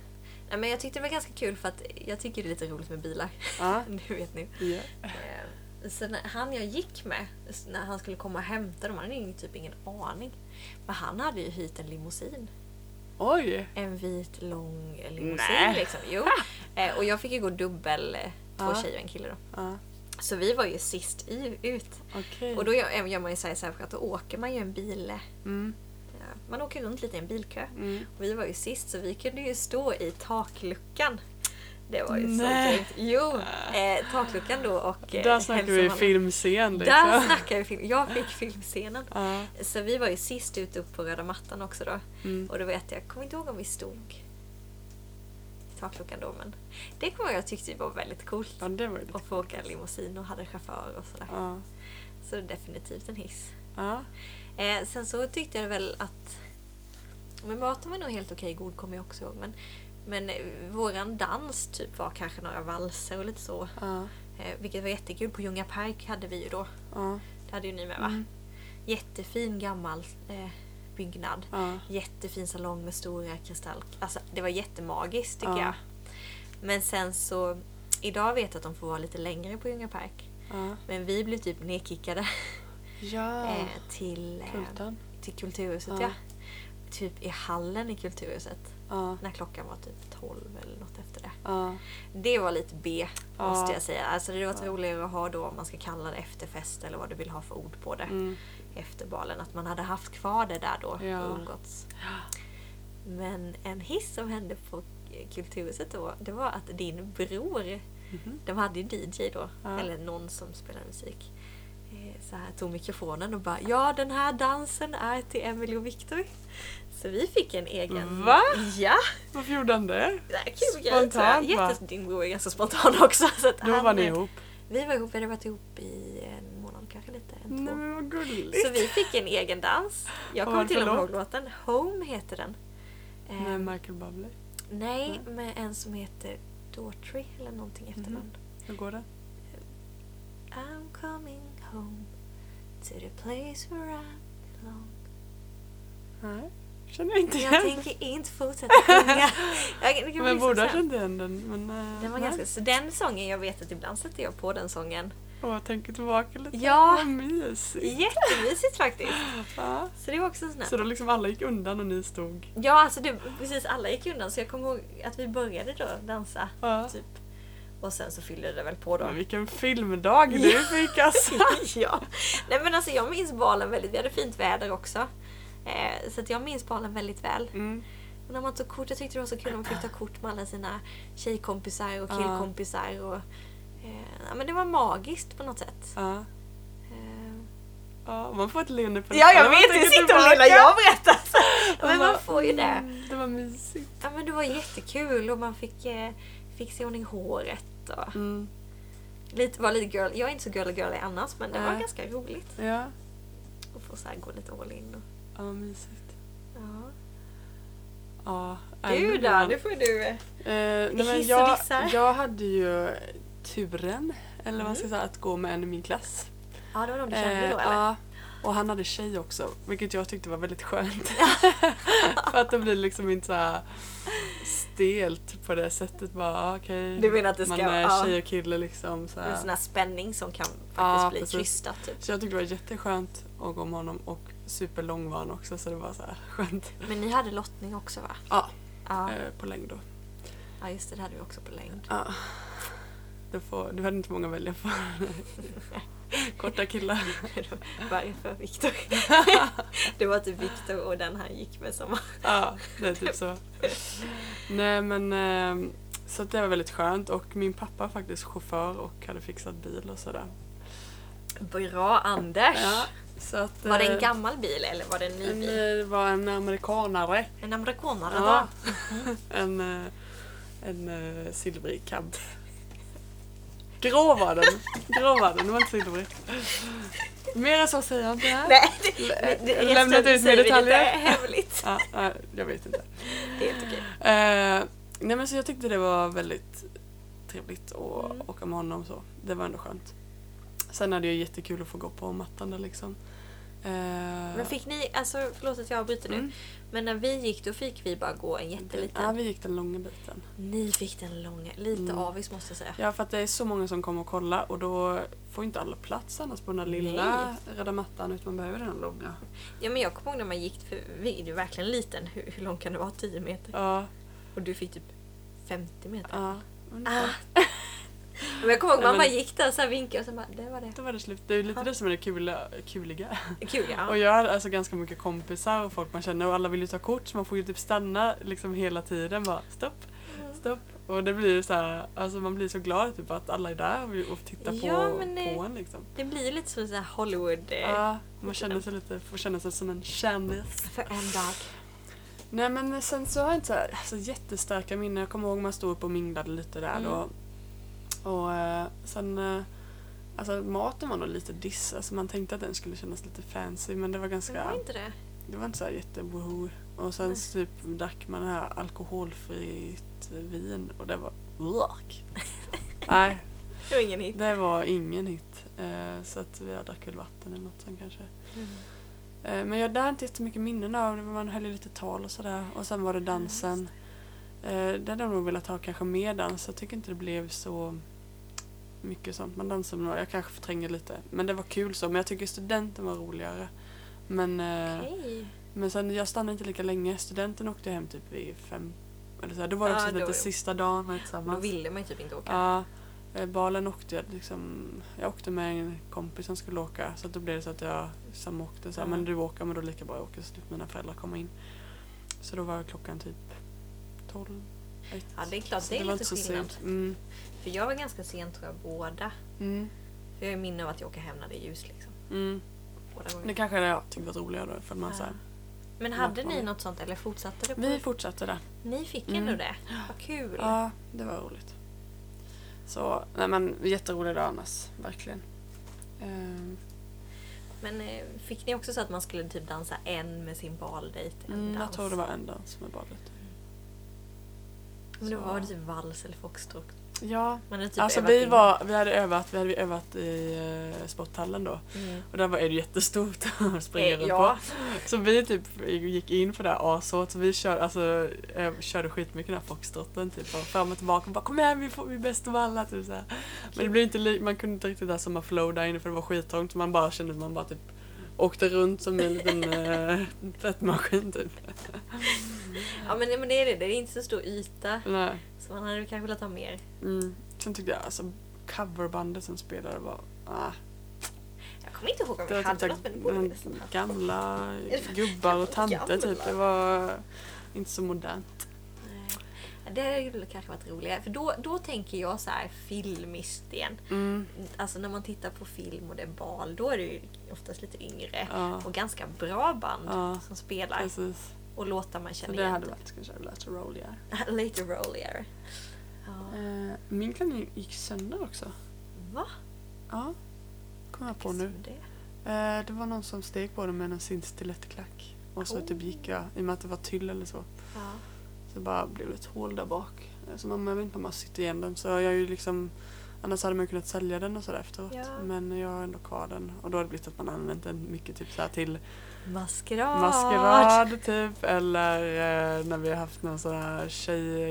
Speaker 1: Nej, men jag tyckte det var ganska kul för att jag tycker det är lite roligt med bilar.
Speaker 2: Ja.
Speaker 1: Nu vet ni.
Speaker 2: Ja.
Speaker 1: Eh, Sen han jag gick med, s- när han skulle komma och hämta dem, han hade ju typ ingen aning. Men han hade ju hyrt en limousin.
Speaker 2: Oj!
Speaker 1: En vit lång limousin
Speaker 2: Nej.
Speaker 1: liksom. Jo. Eh, Och jag fick ju gå dubbel, eh, två
Speaker 2: Ja.
Speaker 1: tjejer och en kille då.
Speaker 2: Ja.
Speaker 1: Så vi var ju sist i, ut.
Speaker 2: Okej.
Speaker 1: Och då gör, gör man ju så här, så här för att då åker man ju en bil...
Speaker 2: Mm.
Speaker 1: ja, Man åker runt lite i en bilkö.
Speaker 2: Mm.
Speaker 1: Och vi var ju sist så vi kunde ju stå i takluckan. Det var ju
Speaker 2: Nej. Ah.
Speaker 1: så grymt. Jo, eh, takluckan då och... eh,
Speaker 2: Där snackar vi
Speaker 1: hälsomannen.
Speaker 2: filmscen liksom.
Speaker 1: Där snackar vi film. Jag fick filmscenen.
Speaker 2: Ja.
Speaker 1: Så vi var ju sist ut upp på röda mattan också då.
Speaker 2: Mm.
Speaker 1: Och då vet jag, jag kommer inte ihåg om vi stod i takluckan då men det kommer jag ihåg, jag tyckte var väldigt coolt.
Speaker 2: ja, det var ju lite
Speaker 1: Att få åka limousin och hade chaufför och sådär.
Speaker 2: Ja.
Speaker 1: Så det är definitivt en hiss.
Speaker 2: Ja.
Speaker 1: Eh, sen så tyckte jag väl att... Men maten var nog helt okej god kommer jag också ihåg. Men, men eh, våran dans typ var kanske några valser och lite så.
Speaker 2: Ja.
Speaker 1: Eh, vilket var jättekul. På Ljunga Park hade vi ju då.
Speaker 2: Ja.
Speaker 1: Det hade ju ni med va?
Speaker 2: Mm.
Speaker 1: Jättefin gammal eh, byggnad.
Speaker 2: Ja.
Speaker 1: Jättefin salong med stora kristall... Alltså det var jättemagiskt tycker
Speaker 2: Ja.
Speaker 1: jag. Men sen så... Idag vet jag att de får vara lite längre på Ljunga Park.
Speaker 2: Ja.
Speaker 1: Men vi blev typ nedkickade.
Speaker 2: Ja,
Speaker 1: eh, till, eh,
Speaker 2: Kultan.
Speaker 1: till Kulturhuset.
Speaker 2: Ja.
Speaker 1: Ja. Typ i hallen i Kulturhuset.
Speaker 2: Ja,
Speaker 1: När klockan var typ 12 eller något efter det.
Speaker 2: ja,
Speaker 1: Det var lite B
Speaker 2: Ja.
Speaker 1: måste jag säga. Alltså det var varit
Speaker 2: Ja.
Speaker 1: roligare att ha då om man ska kalla det efterfest eller vad du vill ha för ord på det.
Speaker 2: mm,
Speaker 1: Efter balen. Att man hade haft kvar det där då
Speaker 2: Ja.
Speaker 1: och umgåtts. Men en hiss som hände på Kulturhuset då, det var att din bror,
Speaker 2: mhm,
Speaker 1: de hade ju DJ då,
Speaker 2: Ja.
Speaker 1: eller någon som spelade musik. eh, Så här tog mikrofonen och bara ja den här dansen är till Emily och Victor. Så vi fick en egen.
Speaker 2: Va?
Speaker 1: Ja!
Speaker 2: Varför gjorde han det?
Speaker 1: Det här är kul grej.
Speaker 2: Spontant,
Speaker 1: så här.
Speaker 2: va?
Speaker 1: Jättes- Din bror är ganska spontan också. Så att
Speaker 2: Då
Speaker 1: han,
Speaker 2: var ni
Speaker 1: eh,
Speaker 2: ihop.
Speaker 1: Vi var ihop, vi hade varit ihop i en månad kanske lite, en två.
Speaker 2: Nej men vad
Speaker 1: Så
Speaker 2: gulligt.
Speaker 1: vi fick en egen dans. Jag
Speaker 2: Vad var
Speaker 1: kommer
Speaker 2: det
Speaker 1: till och
Speaker 2: för
Speaker 1: med ihåg låten. Home heter den. Eh,
Speaker 2: Med Michael Bublé.
Speaker 1: nej, med en som heter Daughtry eller någonting efter
Speaker 2: Mhm.
Speaker 1: den.
Speaker 2: Hur går det?
Speaker 1: I'm coming home to the place where I belong.
Speaker 2: Nej, känner jag inte
Speaker 1: Jag
Speaker 2: igen.
Speaker 1: tänker inte fortsätta sjunga. Jag, det kan bli
Speaker 2: Men
Speaker 1: liksom
Speaker 2: borde ha
Speaker 1: så här.
Speaker 2: känt igen den. Men, eh,
Speaker 1: den var
Speaker 2: nej.
Speaker 1: ganska, så den sången, jag vet att ibland sätter jag på den sången.
Speaker 2: Åh, jag tänker tillbaka lite.
Speaker 1: Ja.
Speaker 2: Vad mysigt.
Speaker 1: Jättemysigt faktiskt.
Speaker 2: Ja.
Speaker 1: Så det var också en sån här.
Speaker 2: Så då liksom alla gick undan och ni stod.
Speaker 1: Ja, alltså det, precis alla gick undan så jag kommer ihåg att vi började då dansa.
Speaker 2: Ja.
Speaker 1: Typ. Och sen så fyllde det väl på då.
Speaker 2: Men vilken filmdag du fick alltså.
Speaker 1: ja. Nej men alltså jag minns balen väldigt, vi hade fint väder också. Eh, så att jag minns balen väldigt väl.
Speaker 2: Mm.
Speaker 1: Och när man tog kort, jag tyckte det var så kul när man fick ta kort med alla sina tjejkompisar och
Speaker 2: Ja.
Speaker 1: killkompisar. Och, eh, ja, men det var magiskt på något sätt.
Speaker 2: Ja.
Speaker 1: Eh,
Speaker 2: ja, man får ett leende på
Speaker 1: ja, jag
Speaker 2: läpparna när man
Speaker 1: vet!
Speaker 2: tänker
Speaker 1: Jag sitter och
Speaker 2: tillbaka.
Speaker 1: lilla jag berättar! Men
Speaker 2: bara,
Speaker 1: man får ju det.
Speaker 2: mm, Det var mysigt.
Speaker 1: Ja men det var jättekul och man fick, eh, fick se ordning håret och
Speaker 2: Mm.
Speaker 1: lite, var lite girl. Jag är inte så girly girly annars men det var
Speaker 2: Nej.
Speaker 1: ganska roligt
Speaker 2: Ja.
Speaker 1: att få så här gå lite all in. Och,
Speaker 2: ja, mysigt.
Speaker 1: ja.
Speaker 2: Ja.
Speaker 1: Du
Speaker 2: även
Speaker 1: då,
Speaker 2: ibland.
Speaker 1: nu får du...
Speaker 2: Eh, nej, men
Speaker 1: Hiss och
Speaker 2: jag,
Speaker 1: dissar.
Speaker 2: jag hade ju turen, eller vad man ska
Speaker 1: Mm.
Speaker 2: säga, att gå med en i min klass.
Speaker 1: Ja det var någon du kände
Speaker 2: Eh,
Speaker 1: då eller?
Speaker 2: Ja, och han hade tjej också, vilket jag tyckte var väldigt skönt. För att det blir liksom inte så här stelt på det sättet. Bara, ah, okej,
Speaker 1: Du menar att det ska-
Speaker 2: man är
Speaker 1: ja.
Speaker 2: tjej och kille liksom. Så,
Speaker 1: Det är en
Speaker 2: här.
Speaker 1: sån här spänning som kan faktiskt
Speaker 2: Ja,
Speaker 1: bli
Speaker 2: precis.
Speaker 1: krystad typ.
Speaker 2: så jag tyckte det var jätteskönt att gå med honom och superlång var han också så det var så här skönt.
Speaker 1: Men ni hade lottning också va?
Speaker 2: Ja,
Speaker 1: Ja,
Speaker 2: eh, på längd då.
Speaker 1: ja just det, det hade vi också på längd.
Speaker 2: Ja. Du, får, du hade inte många att välja på. Korta killar.
Speaker 1: Varför Viktor? det var typ Viktor och den han gick med som var...
Speaker 2: Ja, det är typ så. Nej men eh, så att det var väldigt skönt och min pappa är faktiskt chaufför och hade fixat bil och sådär.
Speaker 1: Bra Anders!
Speaker 2: Ja, så att,
Speaker 1: Var det en
Speaker 2: eh,
Speaker 1: gammal bil eller var det en ny
Speaker 2: en,
Speaker 1: bil?
Speaker 2: eh, Det var en amerikanare.
Speaker 1: En amerikanare
Speaker 2: Ja.
Speaker 1: då?
Speaker 2: En, eh, en eh, silvrig cab. Grå var den. Grå var den, den var inte silvrig. Mer än så säger jag inte här.
Speaker 1: Nej, det, det,
Speaker 2: Eh, Jag har
Speaker 1: resten
Speaker 2: lämnat ut mer
Speaker 1: säger vi
Speaker 2: detaljer.
Speaker 1: inte är hemligt.
Speaker 2: Ja, nej, jag vet inte.
Speaker 1: Det är helt okej.
Speaker 2: Eh, nej men så jag tyckte det var väldigt trevligt att
Speaker 1: Mm.
Speaker 2: åka med honom så. Det var ändå skönt. Sen hade jag jättekul att få gå på mattan där liksom. Eh,
Speaker 1: Men fick ni, alltså förlåt att jag avbryter nu.
Speaker 2: Mm.
Speaker 1: Men när vi gick då fick vi bara gå en jätteliten.
Speaker 2: Ja, vi gick den långa biten.
Speaker 1: Ni fick den långa, lite
Speaker 2: Mm.
Speaker 1: avis måste jag säga.
Speaker 2: Ja, för att det är så många som kommer och kolla och då får inte alla plats annars på den här lilla röda mattan utan man behöver den långa.
Speaker 1: Ja men jag kommer ihåg när man gick, för vi är ju verkligen liten, hur, hur lång kan det vara? 10 meter?
Speaker 2: Ja,
Speaker 1: Och du fick typ 50 meter.
Speaker 2: ja. ungefär.
Speaker 1: Ah. Men jag kommer ihåg
Speaker 2: Nej,
Speaker 1: mamma
Speaker 2: men-
Speaker 1: gick där och så här vinkade och sen bara, det var det.
Speaker 2: Då var det slut. Det är ju lite det som är det kula, kuliga.
Speaker 1: Kul ja.
Speaker 2: Och jag har alltså ganska mycket kompisar och folk man känner och alla vill ju ta kort så man får ju typ stanna liksom hela tiden bara stopp, stopp. Och det blir ju så här, alltså man blir så glad typ att alla är där och vill- och tittar
Speaker 1: Ja,
Speaker 2: på,
Speaker 1: men det-
Speaker 2: på en liksom.
Speaker 1: Det blir ju lite som så här Hollywood eh,
Speaker 2: Ja, man känner sig lite, får känna sig som en kändis.
Speaker 1: för en dag.
Speaker 2: Nej men sen så har jag inte så här, alltså, jättestarka minnen. Jag kommer ihåg man stod upp och minglade lite där
Speaker 1: Mm.
Speaker 2: då. Och eh, sen, eh, alltså maten var nog lite diss. Alltså man tänkte att den skulle kännas lite fancy men det var ganska...
Speaker 1: Men var inte det?
Speaker 2: Det var inte så här jätte woohoo. Och sen
Speaker 1: Nej.
Speaker 2: så typ drack man det här alkoholfritt vin och det var Urk. Nej,
Speaker 1: Det var ingen hit.
Speaker 2: det var ingen hit. Eh, så att vi drack väl vatten eller något sen kanske.
Speaker 1: Mm,
Speaker 2: Eh, men jag där har inte jättemycket minnen av. det, men Man höll ju lite tal och sådär. Och sen var det dansen. Eh, det hade jag nog velat ha kanske mer dans. Jag tycker inte det blev så mycket sånt. Man dansar med några. Jag kanske förtränger lite. Men det var kul så. Men jag tycker studenten var roligare. Men, eh,
Speaker 1: Okej.
Speaker 2: men sen jag stannade inte lika länge. Studenten åkte jag hem typ vid fem. Eller så här. Då var det
Speaker 1: Ja,
Speaker 2: också
Speaker 1: då-
Speaker 2: lite sista dagen var
Speaker 1: Då
Speaker 2: tillsammans.
Speaker 1: ville man ju typ inte åka.
Speaker 2: Ja, eh, balen åkte jag liksom. Jag åkte med en kompis som skulle åka så att då blev det så att jag samåkte. Så här,
Speaker 1: Mm.
Speaker 2: Men du åker, men då är det lika bra jag åker så slipper mina föräldrar komma in. Så då var klockan typ 12. ett.
Speaker 1: Ja, det är klart,
Speaker 2: Så
Speaker 1: det är
Speaker 2: var
Speaker 1: lite
Speaker 2: inte så
Speaker 1: skillnad.
Speaker 2: sent. Mm.
Speaker 1: För jag var ganska sen tror jag båda.
Speaker 2: Mm.
Speaker 1: För jag är minne av att jag åker hem när det är ljus liksom.
Speaker 2: Mm.
Speaker 1: Båda gånger.
Speaker 2: Det kanske hade jag tyckt var roligare då. För man, så här,
Speaker 1: Men hade ni
Speaker 2: Ja.
Speaker 1: något sånt eller fortsatte det? På?
Speaker 2: vi fortsatte där.
Speaker 1: Ni fick
Speaker 2: Mm.
Speaker 1: ändå det? Vad kul!
Speaker 2: Ja, det var roligt. Så, nej men jätterolig dag annars. Verkligen. Ehm,
Speaker 1: Men eh, fick ni också så att man skulle typ dansa en med sin baldejt? en
Speaker 2: mm, jag
Speaker 1: dans?
Speaker 2: tror det var en dans med badet.
Speaker 1: Men då
Speaker 2: så.
Speaker 1: var det typ vals eller foxtrot.
Speaker 2: Ja,
Speaker 1: Man hade typ
Speaker 2: alltså
Speaker 1: övat
Speaker 2: vi,
Speaker 1: in.
Speaker 2: var, vi hade övat, vi hade ju övat i eh, sporthallen då.
Speaker 1: Mm.
Speaker 2: Och där var är det jättestort att springa
Speaker 1: Eh,
Speaker 2: runt
Speaker 1: ja.
Speaker 2: på. Så vi typ gick in på det här ashårt. Så vi kör, alltså, eh, körde skitmycket den här foxtrotten. Typ, och fram och tillbaka. Och bara kom igen vi, får, vi är bäst av alla. Typ, så här. Men det blev inte li- man kunde inte riktigt ha samma flow där inne för det var skittrångt. Så man bara kände att man bara typ åkte runt som en liten eh, tvättmaskin typ.
Speaker 1: Ja men, men det är det, det är inte så stor yta.
Speaker 2: Nej.
Speaker 1: Så man hade väl kanske velat ha mer.
Speaker 2: Mm. Sen tyckte jag alltså coverbandet som spelade var... Ah.
Speaker 1: Jag kommer inte ihåg om
Speaker 2: Det
Speaker 1: vi
Speaker 2: var
Speaker 1: hade
Speaker 2: typ
Speaker 1: något men det
Speaker 2: såhär
Speaker 1: borde vi
Speaker 2: mm,
Speaker 1: nästan ha.
Speaker 2: gamla gubbar och tanter typ. Det var inte så modernt.
Speaker 1: Nej. Det hade kanske varit roligare. För då, då tänker jag så här filmiskt igen.
Speaker 2: Mm.
Speaker 1: Alltså när man tittar på film och det är bal, då är det ju oftast lite yngre
Speaker 2: Ja,
Speaker 1: och ganska bra band
Speaker 2: Ja.
Speaker 1: som spelar
Speaker 2: precis.
Speaker 1: och låtar man
Speaker 2: Så
Speaker 1: känner
Speaker 2: det
Speaker 1: igen.
Speaker 2: hade varit kanske lite roligare.
Speaker 1: typ. Later Rollier. Ja.
Speaker 2: Eh, Min klänning gick sönder också.
Speaker 1: Va?
Speaker 2: Ja, kom jag på nu.
Speaker 1: Som det?
Speaker 2: Eh, Det var någon som steg på den med en sin stilettklack. Och så
Speaker 1: Oh.
Speaker 2: typ gick jag, i och med att det var tyll eller så,
Speaker 1: Ja.
Speaker 2: så bara blev det ett hål där bak. Eh, Så man, jag vet inte om man sitter igen den. Så jag är ju liksom, annars hade man ju kunnat sälja den och sådär efteråt.
Speaker 1: Ja.
Speaker 2: Men jag har ändå kvar den. Och då har det blivit att man har använt den mycket typ så här till Ah.
Speaker 1: Maskerad!
Speaker 2: Maskerad typ eller eh, när vi har haft någon sån här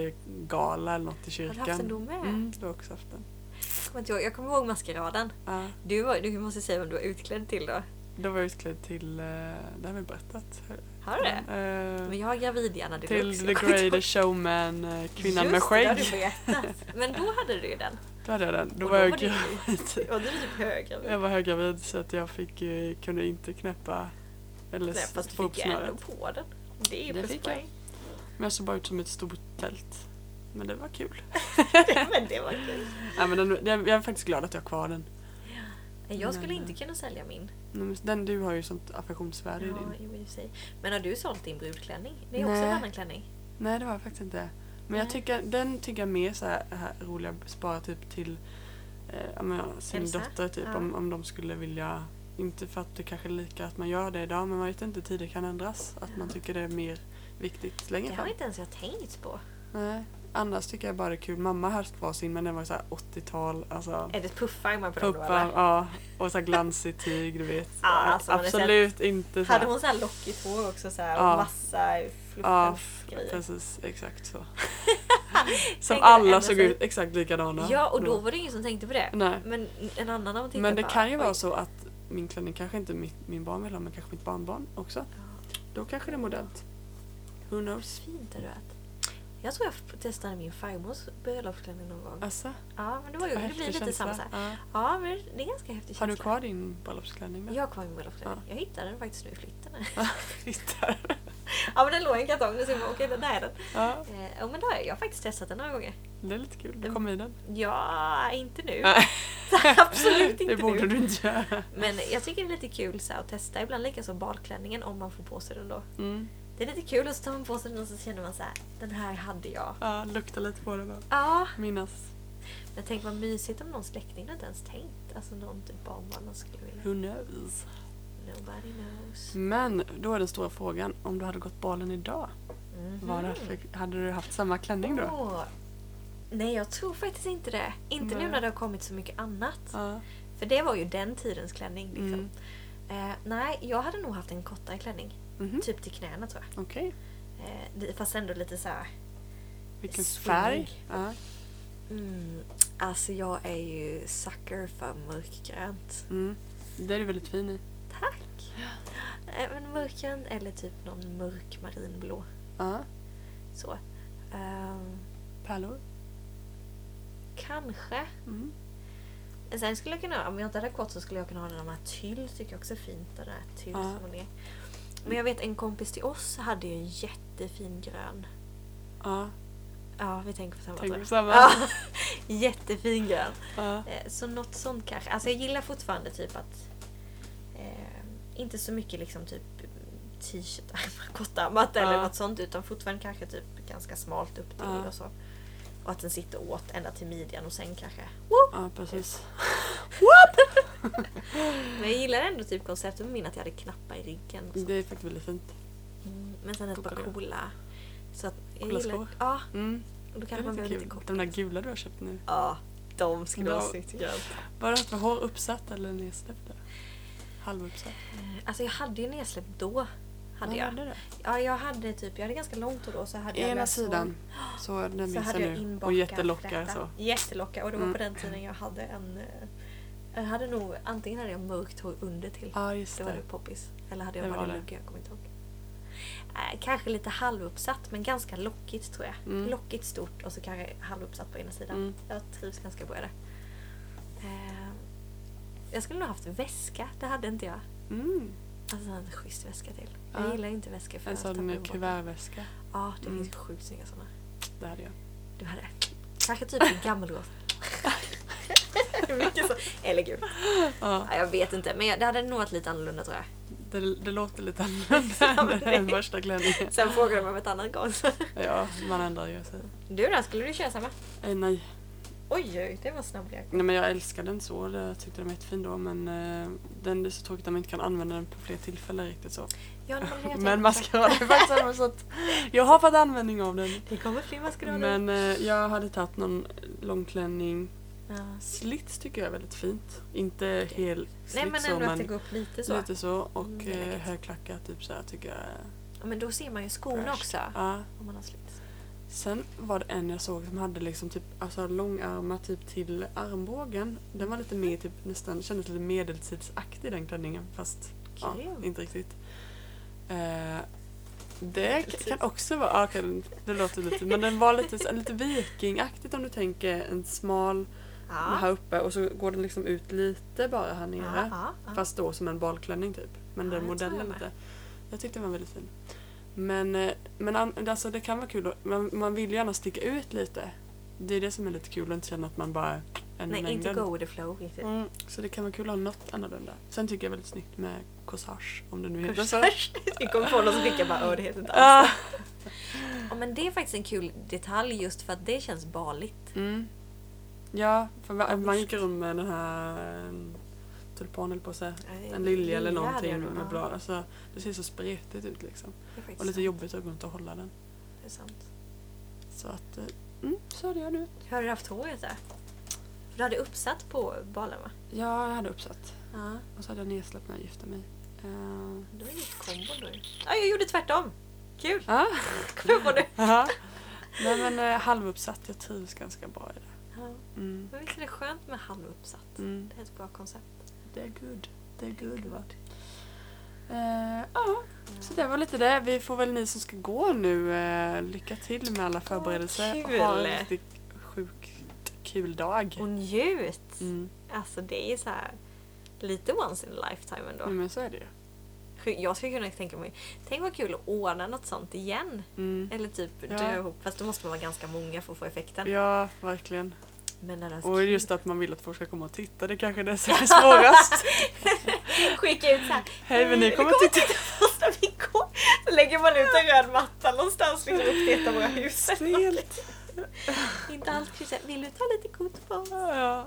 Speaker 2: tjejgala eller något i
Speaker 1: Har
Speaker 2: kyrkan.
Speaker 1: du haft en dom med?
Speaker 2: Mm, du har också haft den.
Speaker 1: Jag kommer inte ihåg- Jag kommer ihåg maskeraden.
Speaker 2: Ja,
Speaker 1: Du, var, du måste säga vem du var utklädd till då.
Speaker 2: då var jag utklädd till, eh, det har vi berättat.
Speaker 1: Har du det?
Speaker 2: Eh,
Speaker 1: Men jag har gravidhjärna
Speaker 2: till
Speaker 1: deluxe.
Speaker 2: The Greater Showman, eh, kvinnan
Speaker 1: Just
Speaker 2: med skägg.
Speaker 1: det, det har du berättat. Men då hade du ju den.
Speaker 2: Då hade jag den. Då
Speaker 1: Och
Speaker 2: var jag
Speaker 1: var du,
Speaker 2: gravid.
Speaker 1: ju- och du är typ höggravid.
Speaker 2: Jag var höggravid så att jag fick, eh, kunde inte knäppa eller
Speaker 1: Nej, fast
Speaker 2: få
Speaker 1: du
Speaker 2: upp
Speaker 1: fick ju ändå
Speaker 2: snöret.
Speaker 1: på den. Det är
Speaker 2: Det
Speaker 1: ju
Speaker 2: fick
Speaker 1: plus poäng.
Speaker 2: Men jag såg bara ut som ett stort tält. Men det var kul.
Speaker 1: Men det var kul.
Speaker 2: Nej, men den, jag är faktiskt glad att jag har kvar den.
Speaker 1: Nej, Jag skulle
Speaker 2: Men, eh,
Speaker 1: inte kunna sälja min.
Speaker 2: Nej, men Den du har ju sånt affektionsvärde i
Speaker 1: Ja,
Speaker 2: din.
Speaker 1: jo, i och för sig. Men har du sålt din brudklänning? Det är också
Speaker 2: Nej.
Speaker 1: en annan klänning.
Speaker 2: Nej det var jag faktiskt inte. Men jag
Speaker 1: Nej.
Speaker 2: tycker, den tycker jag mer så här, här roliga spara typ till eh, ja, men, sin
Speaker 1: Elsa?
Speaker 2: dotter typ
Speaker 1: Ja.
Speaker 2: om, om de skulle vilja. Inte för att det kanske är lika att man gör det idag men man vet inte tider kan ändras. Att man tycker det är mer viktigt längre
Speaker 1: Det har
Speaker 2: fram.
Speaker 1: inte ens jag tänkt på.
Speaker 2: Nej. Annars tycker jag bara det är kul. Mamma hade kvar sin men den var så här 80-tal. Alltså,
Speaker 1: Är det puffar man på dem då
Speaker 2: puppar
Speaker 1: eller?
Speaker 2: ja, och så här glansigt tyg du vet.
Speaker 1: Ja, alltså, man är så här-
Speaker 2: Absolut inte så
Speaker 1: Hade
Speaker 2: här.
Speaker 1: hon såhär lockigt hår också såhär
Speaker 2: Ja.
Speaker 1: och massa
Speaker 2: Ja,
Speaker 1: fluffensgrejer?
Speaker 2: precis. Exakt så. Som
Speaker 1: Tänk att
Speaker 2: alla
Speaker 1: ändå
Speaker 2: såg
Speaker 1: så-
Speaker 2: ut exakt likadana.
Speaker 1: Ja och då var det ingen som tänkte på det.
Speaker 2: Nej.
Speaker 1: Men en annan om man tittar
Speaker 2: Men det
Speaker 1: på,
Speaker 2: kan ju
Speaker 1: oj.
Speaker 2: vara så att min klänning kanske inte mitt, min barn vill ha men kanske mitt barnbarn också. Då kanske det är modernt. Who knows?
Speaker 1: Fint är du vet. Jag tror jag testade min farmors bröllopsklänning någon gång.
Speaker 2: Alltså,
Speaker 1: Ja men det, var ju,
Speaker 2: vad
Speaker 1: det
Speaker 2: häftig
Speaker 1: blir lite samma
Speaker 2: känsla.
Speaker 1: såhär.
Speaker 2: Ja.
Speaker 1: Ja men det är ganska häftig
Speaker 2: Har du
Speaker 1: känsla.
Speaker 2: kvar din bröllopsklänning? då?
Speaker 1: Jag har kvar min bröllopsklänning. Jag hittade den faktiskt nu i flytten.
Speaker 2: Hittar.
Speaker 1: ja men den låg i en kartong nu så jag bara okej den där är den.
Speaker 2: ja,
Speaker 1: Eh, Ja men då har jag, jag har faktiskt testat den några gånger.
Speaker 2: det är lite kul. Du
Speaker 1: Mm.
Speaker 2: kom i den.
Speaker 1: Ja, inte nu.
Speaker 2: Nej.
Speaker 1: Absolut
Speaker 2: Det
Speaker 1: inte
Speaker 2: borde
Speaker 1: nu.
Speaker 2: du inte göra.
Speaker 1: Men jag tycker det är lite kul så här, att testa. Ibland likaså balklänningen om man får på sig den då.
Speaker 2: Mm.
Speaker 1: Det är lite kul och så tar man på sig den och så känner man så här, den här hade jag.
Speaker 2: Ja, lukta lite på det bara.
Speaker 1: Ja,
Speaker 2: Minnas.
Speaker 1: men tänk vad mysigt om någon släkting hade inte ens tänkt. Alltså någon typ barnbarn man skulle vilja.
Speaker 2: Who knows?
Speaker 1: Nobody knows.
Speaker 2: Men då är den stora frågan, om du hade gått balen idag,
Speaker 1: Mhm.
Speaker 2: vad hade, för, hade du haft samma klänning då?
Speaker 1: Åh. Nej, jag tror faktiskt inte det. Inte
Speaker 2: Nej.
Speaker 1: nu när det har kommit så mycket annat.
Speaker 2: Ja.
Speaker 1: För det var ju den tidens klänning. Liksom.
Speaker 2: Mm.
Speaker 1: Eh, nej, jag hade nog haft en kortare klänning.
Speaker 2: Mhm.
Speaker 1: Typ till knäna tror jag.
Speaker 2: Okej,
Speaker 1: Eh, det- fast ändå lite så här.
Speaker 2: vilken
Speaker 1: Swing.
Speaker 2: färg? Ja.
Speaker 1: Mm, alltså jag är ju sucker för mörkgrönt.
Speaker 2: Mm. Det är du väldigt fin i.
Speaker 1: Tack! Eh, Men mörkgrönt eller typ någon mörk marinblå.
Speaker 2: Ja.
Speaker 1: Så. Ehm,
Speaker 2: Pärlor.
Speaker 1: kanske.
Speaker 2: Mm.
Speaker 1: Men Sen skulle jag kunna, om jag inte hade kort så skulle jag kunna ha den här tyll, tycker jag också är fint. Den där tyll
Speaker 2: Ja.
Speaker 1: som hon är. Men jag vet en kompis till oss hade ju en jättefin grön.
Speaker 2: Ja.
Speaker 1: Ja, vi tänker på samma
Speaker 2: Tänker
Speaker 1: tror
Speaker 2: på
Speaker 1: jag.
Speaker 2: samma.
Speaker 1: Ja, jättefin grön.
Speaker 2: Ja.
Speaker 1: Eh, Så något sånt kanske. Alltså jag gillar fortfarande typ att eh, inte så mycket liksom typ t-shirtärmar, kortärmat eller
Speaker 2: Ja.
Speaker 1: något sånt utan fortfarande kanske typ ganska smalt upp till
Speaker 2: Ja.
Speaker 1: och så. Och att den sitter åt ända till midjan och sen kanske whoop!
Speaker 2: ja, precis.
Speaker 1: Men jag gillar ändå typ konceptet med min att jag hade knappar i ryggen. Och sånt.
Speaker 2: Det är faktiskt väldigt fint.
Speaker 1: Mm, Men sen ett
Speaker 2: Coola.
Speaker 1: par coola. Så att jag
Speaker 2: Coola
Speaker 1: gillar,
Speaker 2: skor.
Speaker 1: Ja,
Speaker 2: Mm.
Speaker 1: och då
Speaker 2: Det är
Speaker 1: kanske man
Speaker 2: lite
Speaker 1: behöver lite
Speaker 2: kul.
Speaker 1: koppar.
Speaker 2: De där gula du har köpt nu.
Speaker 1: Ja, de skulle vara
Speaker 2: Ja.
Speaker 1: snyggt grönt.
Speaker 2: Var det att du har uppsatt eller nedsläppt? eller? Halvuppsatt?
Speaker 1: Alltså jag hade ju nedsläpp då. Hade
Speaker 2: Vad
Speaker 1: jag.
Speaker 2: var det då?
Speaker 1: Ja, jag hade typ, jag hade ganska långt hår då så hade jag
Speaker 2: Ena
Speaker 1: löshår.
Speaker 2: sidan. Så den
Speaker 1: så
Speaker 2: minns
Speaker 1: hade jag
Speaker 2: jag nu.
Speaker 1: inbakad
Speaker 2: Och jättelockar
Speaker 1: fläta.
Speaker 2: så.
Speaker 1: Jättelockar och det var
Speaker 2: Mm.
Speaker 1: på den tiden jag hade en... eh, Jag hade nog, antingen hade jag mörkt hår under till.
Speaker 2: Ja, just
Speaker 1: det var
Speaker 2: det.
Speaker 1: nog poppis. Eller hade jag
Speaker 2: Det
Speaker 1: bara
Speaker 2: var det.
Speaker 1: lugg, jag kommer inte ihåg. Eh, kanske lite halvuppsatt men ganska lockigt tror jag.
Speaker 2: Mm.
Speaker 1: Lockigt stort och så kanske halvuppsatt på ena sidan.
Speaker 2: Mm.
Speaker 1: Jag trivs ganska bra i det. Eh, jag skulle nog haft väska, det hade inte jag.
Speaker 2: Mm.
Speaker 1: Alltså en schysst väska till. Jag
Speaker 2: Ja.
Speaker 1: gillar ju inte väskor för
Speaker 2: En
Speaker 1: att tappa
Speaker 2: sån med
Speaker 1: bort.
Speaker 2: kuvertväska.
Speaker 1: Ja, det
Speaker 2: Mm.
Speaker 1: finns ju sjukt snygga sådana.
Speaker 2: Det hade jag.
Speaker 1: Du hade kanske typ en gammelgås. Mycket så. Eller gud.
Speaker 2: Ja,
Speaker 1: Ja, jag vet inte, men jag, det hade nog varit lite annorlunda tror jag.
Speaker 2: det, det låter lite annorlunda än första klänningen.
Speaker 1: Sen frågade de om ett annat gås.
Speaker 2: Ja, man ändrar ju sig.
Speaker 1: Du då, skulle du köra samma?
Speaker 2: Eh, nej.
Speaker 1: Oj, oj, det var snabb lek.
Speaker 2: nej, men jag älskade den så. Jag tyckte den var jättefin då. Men eh, den är så tråkigt att man inte kan använda den på fler tillfällen riktigt så.
Speaker 1: Ja, men jag tänkte-
Speaker 2: Men maskerad är faktiskt samma så att jag har fått användning av den.
Speaker 1: Det kommer fler maskerader.
Speaker 2: Men eh, jag hade tagit någon långklänning.
Speaker 1: Ja.
Speaker 2: Slits tycker jag är väldigt fint. Inte hel slits
Speaker 1: Nej, men
Speaker 2: så,
Speaker 1: ändå att det
Speaker 2: men
Speaker 1: går upp lite så.
Speaker 2: lite så. Och
Speaker 1: Mm, det är
Speaker 2: eh,
Speaker 1: läckert.
Speaker 2: högklackat typ så här tycker jag är
Speaker 1: Ja, men då ser man ju skorna
Speaker 2: fräscht.
Speaker 1: också.
Speaker 2: Ja.
Speaker 1: Om man har slits.
Speaker 2: Sen var det en jag såg som hade liksom typ, alltså långärmar typ till armbågen. Den var lite mer typ nästan, kändes lite medeltidsaktig den klänningen fast ja,
Speaker 1: Grym.
Speaker 2: inte riktigt. Eh, det k- kan också vara, ja, kan, det låter lite, men den var lite, så- lite vikingaktigt om du tänker en smal
Speaker 1: Ja.
Speaker 2: här uppe och så går den liksom ut lite bara här nere.
Speaker 1: Ja, ja, ja.
Speaker 2: Fast då som en balklänning typ. Men
Speaker 1: Ja,
Speaker 2: den
Speaker 1: det tror
Speaker 2: modellen
Speaker 1: jag med.
Speaker 2: lite. Jag tyckte den var väldigt fin. Men, eh, men an- alltså, det kan vara kul. att- Man, man vill ju gärna sticka ut lite. Det är det som är lite kul att inte känna att man bara är en i
Speaker 1: Nej, inte
Speaker 2: mängden.
Speaker 1: go with the flow riktigt.
Speaker 2: Mm, så det kan vara kul att ha något annorlunda. Sen tycker jag väldigt snyggt med corsage om det nu heter så.
Speaker 1: Korsage. Vi kommer få någon som skickar bara åh det heter inte alls.
Speaker 2: Ah.
Speaker 1: Ja, men det är faktiskt en kul detalj just för att det känns baligt.
Speaker 2: Mm. Ja, för man, man gick runt med den här en tulpan höll på att säga. En lilja eller någonting
Speaker 1: hade jag nog.
Speaker 2: med
Speaker 1: Ja,
Speaker 2: blad. Alltså, det ser så spretigt ut liksom.
Speaker 1: det är faktiskt
Speaker 2: Och lite
Speaker 1: sant.
Speaker 2: jobbigt att gå runt och hålla den.
Speaker 1: Det är sant.
Speaker 2: Så att, eh, mm, så hade jag nu.
Speaker 1: Hur har du haft håret där? För du hade uppsatt på balen va?
Speaker 2: Ja, jag hade uppsatt.
Speaker 1: Ja.
Speaker 2: Och så hade jag nedsläppt när jag gifte mig. Eh,
Speaker 1: Då är det ju kombo då ju. Ja, jag gjorde tvärtom! Kul!
Speaker 2: Ja,
Speaker 1: Kom jag på nu.
Speaker 2: ja. Nej men eh, halvuppsatt, jag trivs ganska bra i det.
Speaker 1: Ja.
Speaker 2: Mm,
Speaker 1: Men visst är det skönt med halvuppsatt?
Speaker 2: mm.
Speaker 1: Det är ett bra koncept.
Speaker 2: Det är good. Det är good va? Eh, Ja, så det var lite det. Vi får väl ni som ska gå nu eh, lycka till med alla förberedelser.
Speaker 1: kul.
Speaker 2: Och ha en riktigt sjukt kul dag.
Speaker 1: Och njut!
Speaker 2: Mm.
Speaker 1: Alltså det är ju så här lite once in a lifetime ändå.
Speaker 2: Nej, men så är det ju.
Speaker 1: Sjuk- Jag skulle kunna tänka mig, tänk vad kul att ordna något sånt igen.
Speaker 2: Mm.
Speaker 1: Eller typ
Speaker 2: Ja.
Speaker 1: dö ihop, fast då måste man vara ganska många för att få effekten.
Speaker 2: Ja, verkligen.
Speaker 1: Men när den
Speaker 2: Och just att man vill att folk ska komma och titta, det kanske är det som är svårast.
Speaker 1: skicka ut såhär,
Speaker 2: Hej, men ni kommer
Speaker 1: titta första veckan. Så lägger man ut en röd matta någonstans liksom upp till ett av våra hus.
Speaker 2: Stelt.
Speaker 1: Inte alls kryssat, vill du ta lite kort på oss?
Speaker 2: Ja.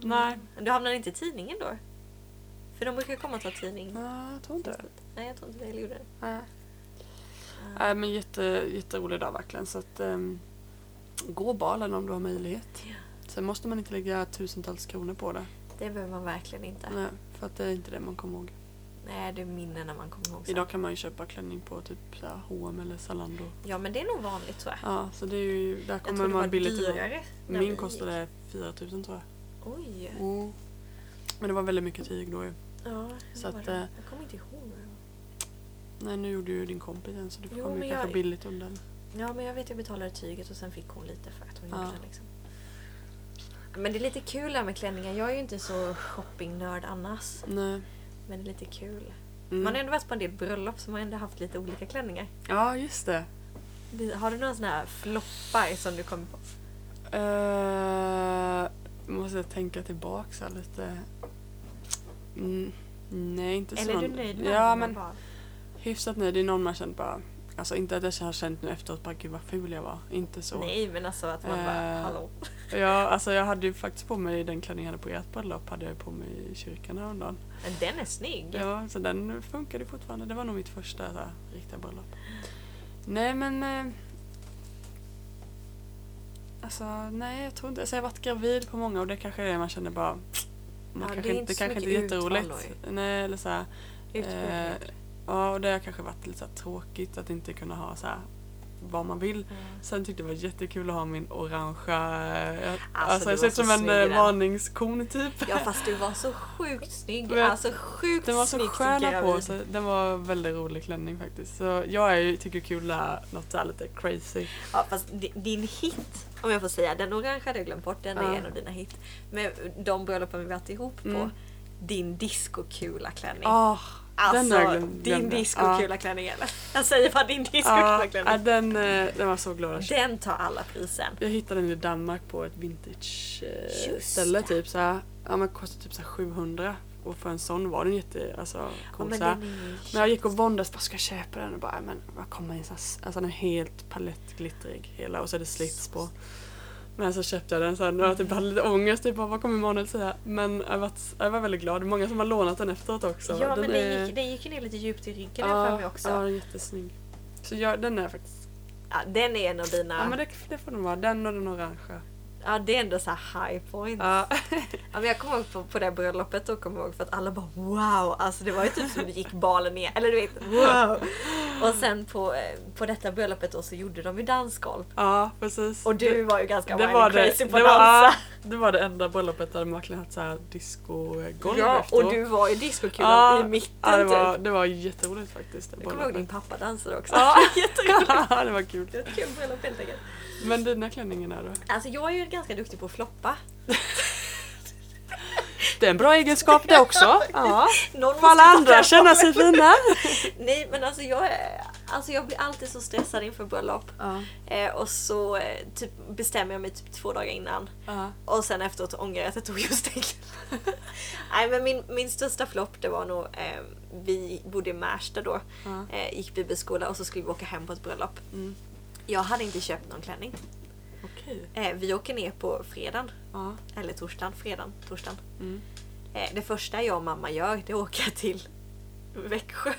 Speaker 2: Nej.
Speaker 1: Men Du hamnar inte i tidningen då? För de brukar komma och ta tidning.
Speaker 2: Nej, jag tror inte det.
Speaker 1: Nej jag tror inte vi heller gjorde det.
Speaker 2: Nej. Nej, men jätte, jätterolig dag verkligen. Så att, ehm, gå balen om du har möjlighet.
Speaker 1: Ja.
Speaker 2: Sen måste man inte lägga tusentals kronor på det.
Speaker 1: Det behöver man verkligen inte.
Speaker 2: Nej, för att det är inte det man kommer ihåg.
Speaker 1: Nej, det är minnen när man kommer ihåg sen.
Speaker 2: Idag kan man ju köpa klänning på typ så här H&M eller Zalando.
Speaker 1: Ja men det är nog vanligt tror jag.
Speaker 2: Ja, så det är ju, där
Speaker 1: Jag
Speaker 2: kommer
Speaker 1: tror det var
Speaker 2: man billigt ifrån.
Speaker 1: dyrare. när vi
Speaker 2: Min
Speaker 1: gick.
Speaker 2: kostade 4000 tror jag.
Speaker 1: Oj!
Speaker 2: Mm. Men det var väldigt mycket tyg då ju.
Speaker 1: Ja,
Speaker 2: Så
Speaker 1: så
Speaker 2: att, eh,
Speaker 1: det? Jag kommer inte ihåg. vad det var.
Speaker 2: Nej, nu gjorde ju din kompis en så du
Speaker 1: Jo,
Speaker 2: kom ju
Speaker 1: men
Speaker 2: kanske
Speaker 1: jag-
Speaker 2: billigt undan.
Speaker 1: Ja men jag vet jag betalade tyget och sen fick hon lite för att hon
Speaker 2: Ja.
Speaker 1: gjorde det liksom. Men det är lite kul det här med klänningar. Jag är ju inte så shoppingnörd annars.
Speaker 2: Nej.
Speaker 1: Men det är lite kul.
Speaker 2: Mm.
Speaker 1: Man har ändå varit på en del bröllop så man har ändå haft lite olika klänningar.
Speaker 2: Ja, just det.
Speaker 1: Vi- Har du några sådana här floppar som du kommer på?
Speaker 2: Eh, måste jag tänka tillbaks här lite. Mm, nej, inte så
Speaker 1: Eller är du
Speaker 2: någon-
Speaker 1: nöjd med
Speaker 2: Ja,
Speaker 1: dem?
Speaker 2: men
Speaker 1: Bara-
Speaker 2: hyfsat nöjd. Det är någon man känt bara... Alltså inte att jag har känt nu efteråt bara gud vad ful jag var. Inte så.
Speaker 1: Nej men alltså att man
Speaker 2: Eh,
Speaker 1: bara hallå.
Speaker 2: Ja, alltså jag hade ju faktiskt på mig den klänning jag hade på ert bröllop hade jag på mig i kyrkan häromdagen.
Speaker 1: Men den är snygg.
Speaker 2: Ja, så den funkade fortfarande. Det var nog mitt första så här, riktiga bröllop. Nej men... Eh, alltså nej jag tror inte... Alltså, jag har varit gravid på många och det kanske är det man känner bara...
Speaker 1: Ja,
Speaker 2: Man
Speaker 1: det
Speaker 2: kanske
Speaker 1: är
Speaker 2: inte,
Speaker 1: inte så
Speaker 2: kanske inte
Speaker 1: mycket
Speaker 2: jätteroligt.
Speaker 1: utfall
Speaker 2: Nej eller så här,
Speaker 1: typ
Speaker 2: eh,
Speaker 1: Utbildning.
Speaker 2: Ja och det har kanske varit lite så här, tråkigt att inte kunna ha så här vad man vill.
Speaker 1: Mm.
Speaker 2: Sen tyckte jag det var jättekul att ha min orangea... eh, Alltså,
Speaker 1: du
Speaker 2: jag ser
Speaker 1: var
Speaker 2: ut som
Speaker 1: så
Speaker 2: en
Speaker 1: snygg i
Speaker 2: eh,
Speaker 1: den.
Speaker 2: varningskon typ.
Speaker 1: Ja fast du var så sjukt snygg.
Speaker 2: Men jag-
Speaker 1: Alltså sjukt
Speaker 2: Den var så
Speaker 1: snyggt
Speaker 2: stjärna på
Speaker 1: gravid.
Speaker 2: så den var en väldigt rolig klänning faktiskt. Så jag är, ju- tycker kul är något så här lite crazy.
Speaker 1: Ja fast di- din hit, om jag får säga, den orangea hade jag glömt bort, den
Speaker 2: Ja.
Speaker 1: är en av dina hit. Men de bröllopen vi varit ihop på,
Speaker 2: Mm.
Speaker 1: din discokula klänning.
Speaker 2: Ah,
Speaker 1: alltså
Speaker 2: den har jag glömt-
Speaker 1: din
Speaker 2: glömde.
Speaker 1: discokula klänning eller? Jag säger bara din
Speaker 2: ah,
Speaker 1: discokula
Speaker 2: ah,
Speaker 1: klänning.
Speaker 2: den, eh, den var så glad att köpa.
Speaker 1: Den tar alla prisen.
Speaker 2: Jag hittade den i Danmark på ett vintage eh,
Speaker 1: Just
Speaker 2: ställe
Speaker 1: det.
Speaker 2: typ så här. Ja men kostade typ så här 700 och för en sån var den jätte, alltså
Speaker 1: Ja,
Speaker 2: cool
Speaker 1: men
Speaker 2: så här.
Speaker 1: den är ju
Speaker 2: Men jag gick och våndades, vad ska jag köpa den? Och bara, men vad kommer in så här, s- Alltså den är helt palettglittrig hela och så är det slits på. Men så köpte jag den sen och jag typ hade lite ångest, typ bara, vad kommer Emanuel säga? Men jag var, jag var väldigt glad, Det är många som har lånat den efteråt också.
Speaker 1: Ja men
Speaker 2: är-
Speaker 1: den gick, den gick ju ner lite djupt i ryggen
Speaker 2: ja,
Speaker 1: här för mig också.
Speaker 2: Ja,
Speaker 1: Ja.
Speaker 2: den är jättesnygg. Så jag, den är faktiskt,
Speaker 1: den är en av dina,
Speaker 2: ja,
Speaker 1: ja, Mm.
Speaker 2: men det, det får den vara, den och den orangea.
Speaker 1: det är ändå så här high point.
Speaker 2: Ja.
Speaker 1: Ja, men jag kommer ihåg på, på det här bröllopet och kommer ihåg för att alla bara wow, alltså det var ju typ som det gick balen ner. Eller du vet wow. Och sen på, eh, på detta bröllopet då så gjorde de ju dansgolv.
Speaker 2: ja, precis.
Speaker 1: Och du
Speaker 2: Det-
Speaker 1: var ju ganska
Speaker 2: det
Speaker 1: wild
Speaker 2: var
Speaker 1: and
Speaker 2: det,
Speaker 1: crazy
Speaker 2: det,
Speaker 1: på
Speaker 2: var,
Speaker 1: att dansa.
Speaker 2: ja, det var det enda bröllopet där de verkligen haft såhär discogolv
Speaker 1: Ja,
Speaker 2: efteråt.
Speaker 1: och du var ju discokulan
Speaker 2: Ja,
Speaker 1: i mitten
Speaker 2: Ja, det, var,
Speaker 1: typ.
Speaker 2: det var jätteroligt faktiskt. det
Speaker 1: Jag kommer ihåg
Speaker 2: bröllopet.
Speaker 1: din pappa dansade också.
Speaker 2: Ja.
Speaker 1: Jätteroligt.
Speaker 2: Ja, det var kul.
Speaker 1: Det var ett kul bröllop helt enkelt.
Speaker 2: Men dina klänningar då?
Speaker 1: Alltså jag är ju ganska duktig på att floppa.
Speaker 2: Det är en bra egenskap det också. Ja.
Speaker 1: Någon
Speaker 2: Får alla
Speaker 1: måste
Speaker 2: andra känna sig fina.
Speaker 1: Nej men alltså jag, är- alltså jag blir alltid så stressad inför bröllop.
Speaker 2: Ja.
Speaker 1: Eh, och så eh, typ, bestämmer jag mig typ två dagar innan.
Speaker 2: Ja.
Speaker 1: Och sen efteråt ångrar jag att jag tog just den killen. Nej men min, min största flopp det var nog, eh, vi bodde i Märsta då,
Speaker 2: Ja.
Speaker 1: eh, gick bibelskola och så skulle vi åka hem på ett bröllop.
Speaker 2: Mm.
Speaker 1: Jag hade inte köpt någon klänning.
Speaker 2: Okej.
Speaker 1: Eh, vi åker ner på fredagen,
Speaker 2: Ja.
Speaker 1: eller torsdagen, fredagen, torsdagen.
Speaker 2: Mm.
Speaker 1: Eh, det första jag och mamma gör det är att åka till Växjö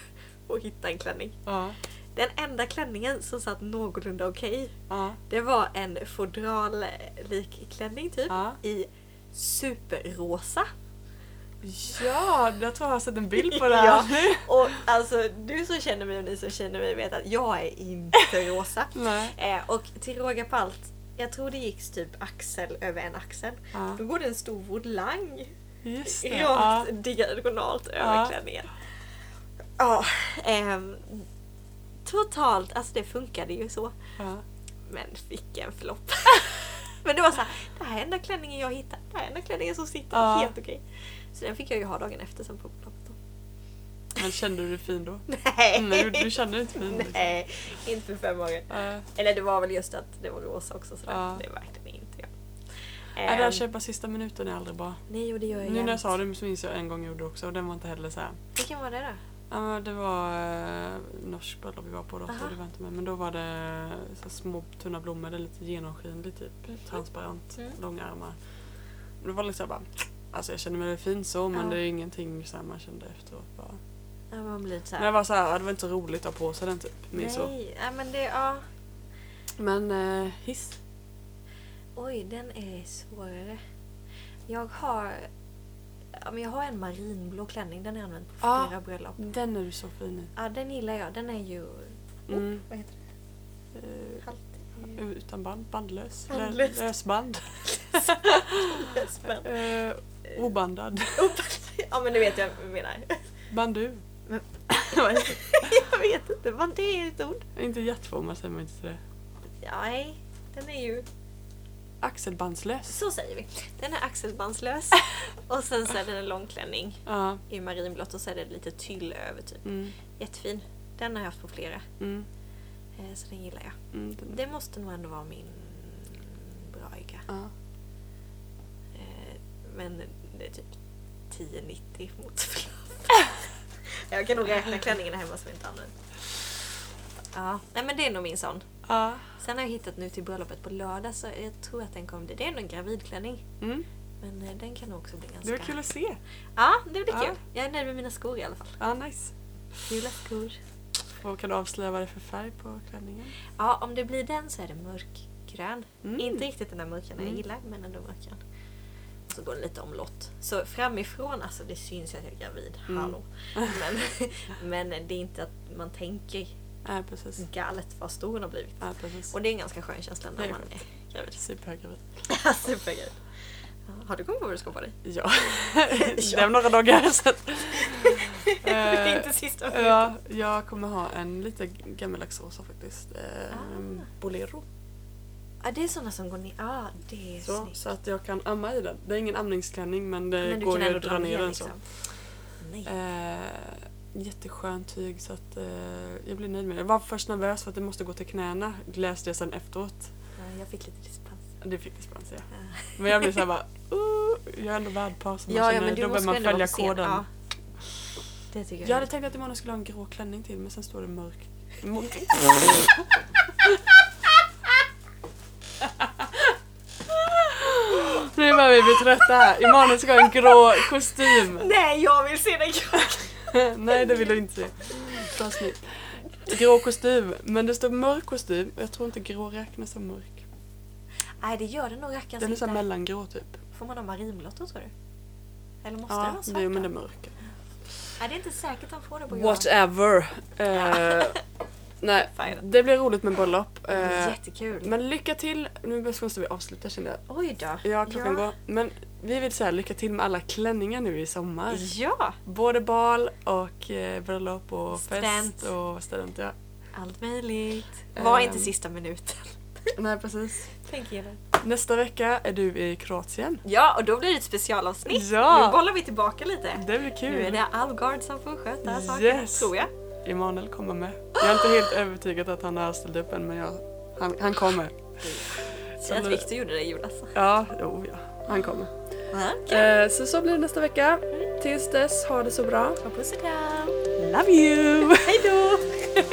Speaker 1: och hitta en klänning.
Speaker 2: Ja.
Speaker 1: Den enda klänningen som satt någorlunda okej
Speaker 2: Ja.
Speaker 1: det var en fodrallik klänning typ
Speaker 2: Ja.
Speaker 1: i superrosa.
Speaker 2: Ja, jag tror jag har sett en bild på det här.
Speaker 1: Och alltså du som känner mig och ni som känner mig vet att jag är inte rosa.
Speaker 2: Nej.
Speaker 1: Eh, och till råga på allt, jag tror det gick typ axel över en axel.
Speaker 2: Ja.
Speaker 1: Då går det en stor volang
Speaker 2: Just det. Ja.
Speaker 1: rakt diagonalt
Speaker 2: Ja.
Speaker 1: över klänningen. Ja, ehm, totalt, alltså det funkade ju så.
Speaker 2: Ja.
Speaker 1: Men vilken flopp. Men det var så här, det här är enda klänningen jag hittar. Det här är enda klänningen som sitter
Speaker 2: Ja.
Speaker 1: helt okej. Så den fick jag ju ha dagen efter sen på bröllopet. då.
Speaker 2: Men kände du dig fin då?
Speaker 1: Nej!
Speaker 2: Nej, du, du kände dig inte fin. liksom.
Speaker 1: Nej, inte för fem gånger.
Speaker 2: Ja.
Speaker 1: Eller det var väl just att det var rosa också så
Speaker 2: Ja.
Speaker 1: det märkte ni inte jag.
Speaker 2: Ja, det här
Speaker 1: Ehm,
Speaker 2: köpa sista minuten är aldrig bra.
Speaker 1: nej och det gör jag
Speaker 2: Nu när jag
Speaker 1: jämt.
Speaker 2: sa det så minns jag en gång jag gjorde också och den var inte heller så här.
Speaker 1: Vilken var det då?
Speaker 2: Ja, men det var eh, norsk bröllop vi var på då, så
Speaker 1: Aha.
Speaker 2: det var inte med. Men då var det så här små tunna blommor, det är lite genomskinligt typ. Transparent,
Speaker 1: Mm.
Speaker 2: långa ärmar. Men Det var liksom bara, alltså jag kände mig väl fin så men
Speaker 1: Ja.
Speaker 2: det är ingenting så här man kände efteråt bara.
Speaker 1: Ja, man blir lite så
Speaker 2: Men det
Speaker 1: här.
Speaker 2: var så här, det var inte roligt att ha på sig den typ. Mer så.
Speaker 1: Nej, ja, men det, ja.
Speaker 2: Men eh, hiss.
Speaker 1: Oj, den är svårare. Jag har ja, men jag har en marinblå klänning, den har jag använt på
Speaker 2: Ja.
Speaker 1: flera bröllop.
Speaker 2: Den är du så fin i.
Speaker 1: Ja, den gillar jag. Den är ju...
Speaker 2: Mm.
Speaker 1: Oh, Vad heter det?
Speaker 2: Eh,
Speaker 1: Haltig?
Speaker 2: utan band, bandlös. Lö-
Speaker 1: Bandlös.
Speaker 2: Lösband.
Speaker 1: Lösband.
Speaker 2: Eh, obandad.
Speaker 1: ja men du vet jag vad jag menar.
Speaker 2: Bandu.
Speaker 1: jag vet inte vad det är ett ord.
Speaker 2: Inte hjärtformad säger man inte till det.
Speaker 1: Nej, den är ju...
Speaker 2: Axelbandslös.
Speaker 1: Så säger vi. Den är axelbandslös och sen så är den en lång klänning
Speaker 2: Ja.
Speaker 1: i marinblått och så är det lite tyll över typ.
Speaker 2: Mm.
Speaker 1: Jättefin. Den har jag haft på flera
Speaker 2: Mm.
Speaker 1: eh, så den gillar jag.
Speaker 2: Mm. Den,
Speaker 1: Det måste nog ändå vara min braiga.
Speaker 2: ja.
Speaker 1: Eh, Men det är typ 10,90 mot fluff. Jag kan nog räkna klänningarna hemma som jag inte använt. Ja, nej men det är nog min sån.
Speaker 2: ja.
Speaker 1: Sen har jag hittat nu till bröllopet på lördag så jag tror att den kommer. Det är nog en gravidklänning.
Speaker 2: Mm.
Speaker 1: Men eh, den kan nog också bli ganska...
Speaker 2: Det var kul att se.
Speaker 1: Ja, det blir
Speaker 2: Ja.
Speaker 1: kul. Jag är nöjd med mina skor i alla fall.
Speaker 2: Ja, nice.
Speaker 1: Gula skor.
Speaker 2: Och kan du avslöja vad det är för färg på klänningen?
Speaker 1: Ja, om det blir den så är det mörkgrön.
Speaker 2: Mm.
Speaker 1: Inte riktigt den där mörkgröna jag
Speaker 2: Mm.
Speaker 1: gillar, men ändå mörkgrön. Och så går den lite omlott. Så framifrån, alltså det syns ju att jag är gravid.
Speaker 2: Mm.
Speaker 1: Hallå. Men, men det är inte att man tänker
Speaker 2: Ja, precis.
Speaker 1: galet vad stor den har blivit.
Speaker 2: Ja, precis.
Speaker 1: Och det är en ganska skön känsla
Speaker 2: Det
Speaker 1: när
Speaker 2: är
Speaker 1: man är gravid.
Speaker 2: Supergravid.
Speaker 1: Supergravid. Ja, Har du kommit på vad du ska på dig?
Speaker 2: Ja. Det var några dagar sedan.
Speaker 1: det är inte sista
Speaker 2: Eh, Ja, jag kommer ha en lite gammaldags rosa faktiskt. Eh,
Speaker 1: Ah.
Speaker 2: Bolero.
Speaker 1: Ja, det är sådana som går ner. Ja, det är
Speaker 2: Så,
Speaker 1: snyggt.
Speaker 2: så att jag kan amma i den. Det är ingen amningsklänning men det
Speaker 1: Men du
Speaker 2: går
Speaker 1: kan
Speaker 2: ju
Speaker 1: ändå liksom.
Speaker 2: att dra ner den så.
Speaker 1: Nej.
Speaker 2: Eh, jätteskönt tyg så att eh, jag blir nöjd med det. Jag var först nervös för att det måste gå till knäna. Läste det sen efteråt.
Speaker 1: Ja, Jag fick lite dispens.
Speaker 2: Det fick dispens ja.
Speaker 1: Ja.
Speaker 2: Men jag blev såhär bara "Ooh, jag är ändå värdpar så man
Speaker 1: Ah. Ja, ja,
Speaker 2: känner,
Speaker 1: men du
Speaker 2: då
Speaker 1: måste
Speaker 2: behöver man
Speaker 1: ändå vara
Speaker 2: följa
Speaker 1: på scen.
Speaker 2: koden.
Speaker 1: Ja. Det tycker jag.
Speaker 2: Jag hade tänkt att Imorgon skulle ha en grå klänning till men sen står det mörk. mörk. nu börjar vi bli trötta här. Imorgon ska ha en grå kostym.
Speaker 1: Nej, jag vill se den
Speaker 2: Nej det vill du inte se. Ta snitt. Grå kostym. Men det står mörk kostym och jag tror inte grå räknas som mörk.
Speaker 1: Nej, det gör den nog rackarns
Speaker 2: Den är
Speaker 1: inte.
Speaker 2: såhär mellangrå typ.
Speaker 1: Får man ha marinblått då tror du? Eller måste den
Speaker 2: Ja,
Speaker 1: vara svart?
Speaker 2: det, men det är
Speaker 1: då?
Speaker 2: mörk.
Speaker 1: Nej, det är inte säkert de får det på Johan.
Speaker 2: Whatever. Eh, nej,
Speaker 1: Fine.
Speaker 2: det blir roligt med bröllop.
Speaker 1: Det är
Speaker 2: Eh,
Speaker 1: Jättekul.
Speaker 2: Men lycka till, nu måste vi avsluta kände jag.
Speaker 1: Oj då.
Speaker 2: Ja, klockan går. Men vi vill säga lycka till med alla klänningar nu i sommar.
Speaker 1: Ja,
Speaker 2: Både bal och eh, bröllop och
Speaker 1: Student.
Speaker 2: fest och student. Ja.
Speaker 1: allt möjligt. Var
Speaker 2: Ehm.
Speaker 1: inte sista minuten.
Speaker 2: Nej, precis.
Speaker 1: Tänk igenom.
Speaker 2: Nästa vecka är du i Kroatien.
Speaker 1: Ja, och då blir det ett specialavsnitt.
Speaker 2: Ja.
Speaker 1: Nu bollar vi tillbaka lite.
Speaker 2: Det blir
Speaker 1: Nu är
Speaker 2: kul.
Speaker 1: det Alvgard som får sköta saker,
Speaker 2: Yes.
Speaker 1: tror jag.
Speaker 2: Emanuel kommer med. Jag är inte helt övertygad att han har ställt upp än men jag, han, han kommer.
Speaker 1: Säg att
Speaker 2: nu-
Speaker 1: Victor gjorde det i julas.
Speaker 2: Ja, jo ja. Han kommer.
Speaker 1: Okej.
Speaker 2: Eh, så så blir det nästa vecka.
Speaker 1: Mm.
Speaker 2: Tills dess, ha det så bra.
Speaker 1: Puss och kram.
Speaker 2: Love you!
Speaker 1: Hej då!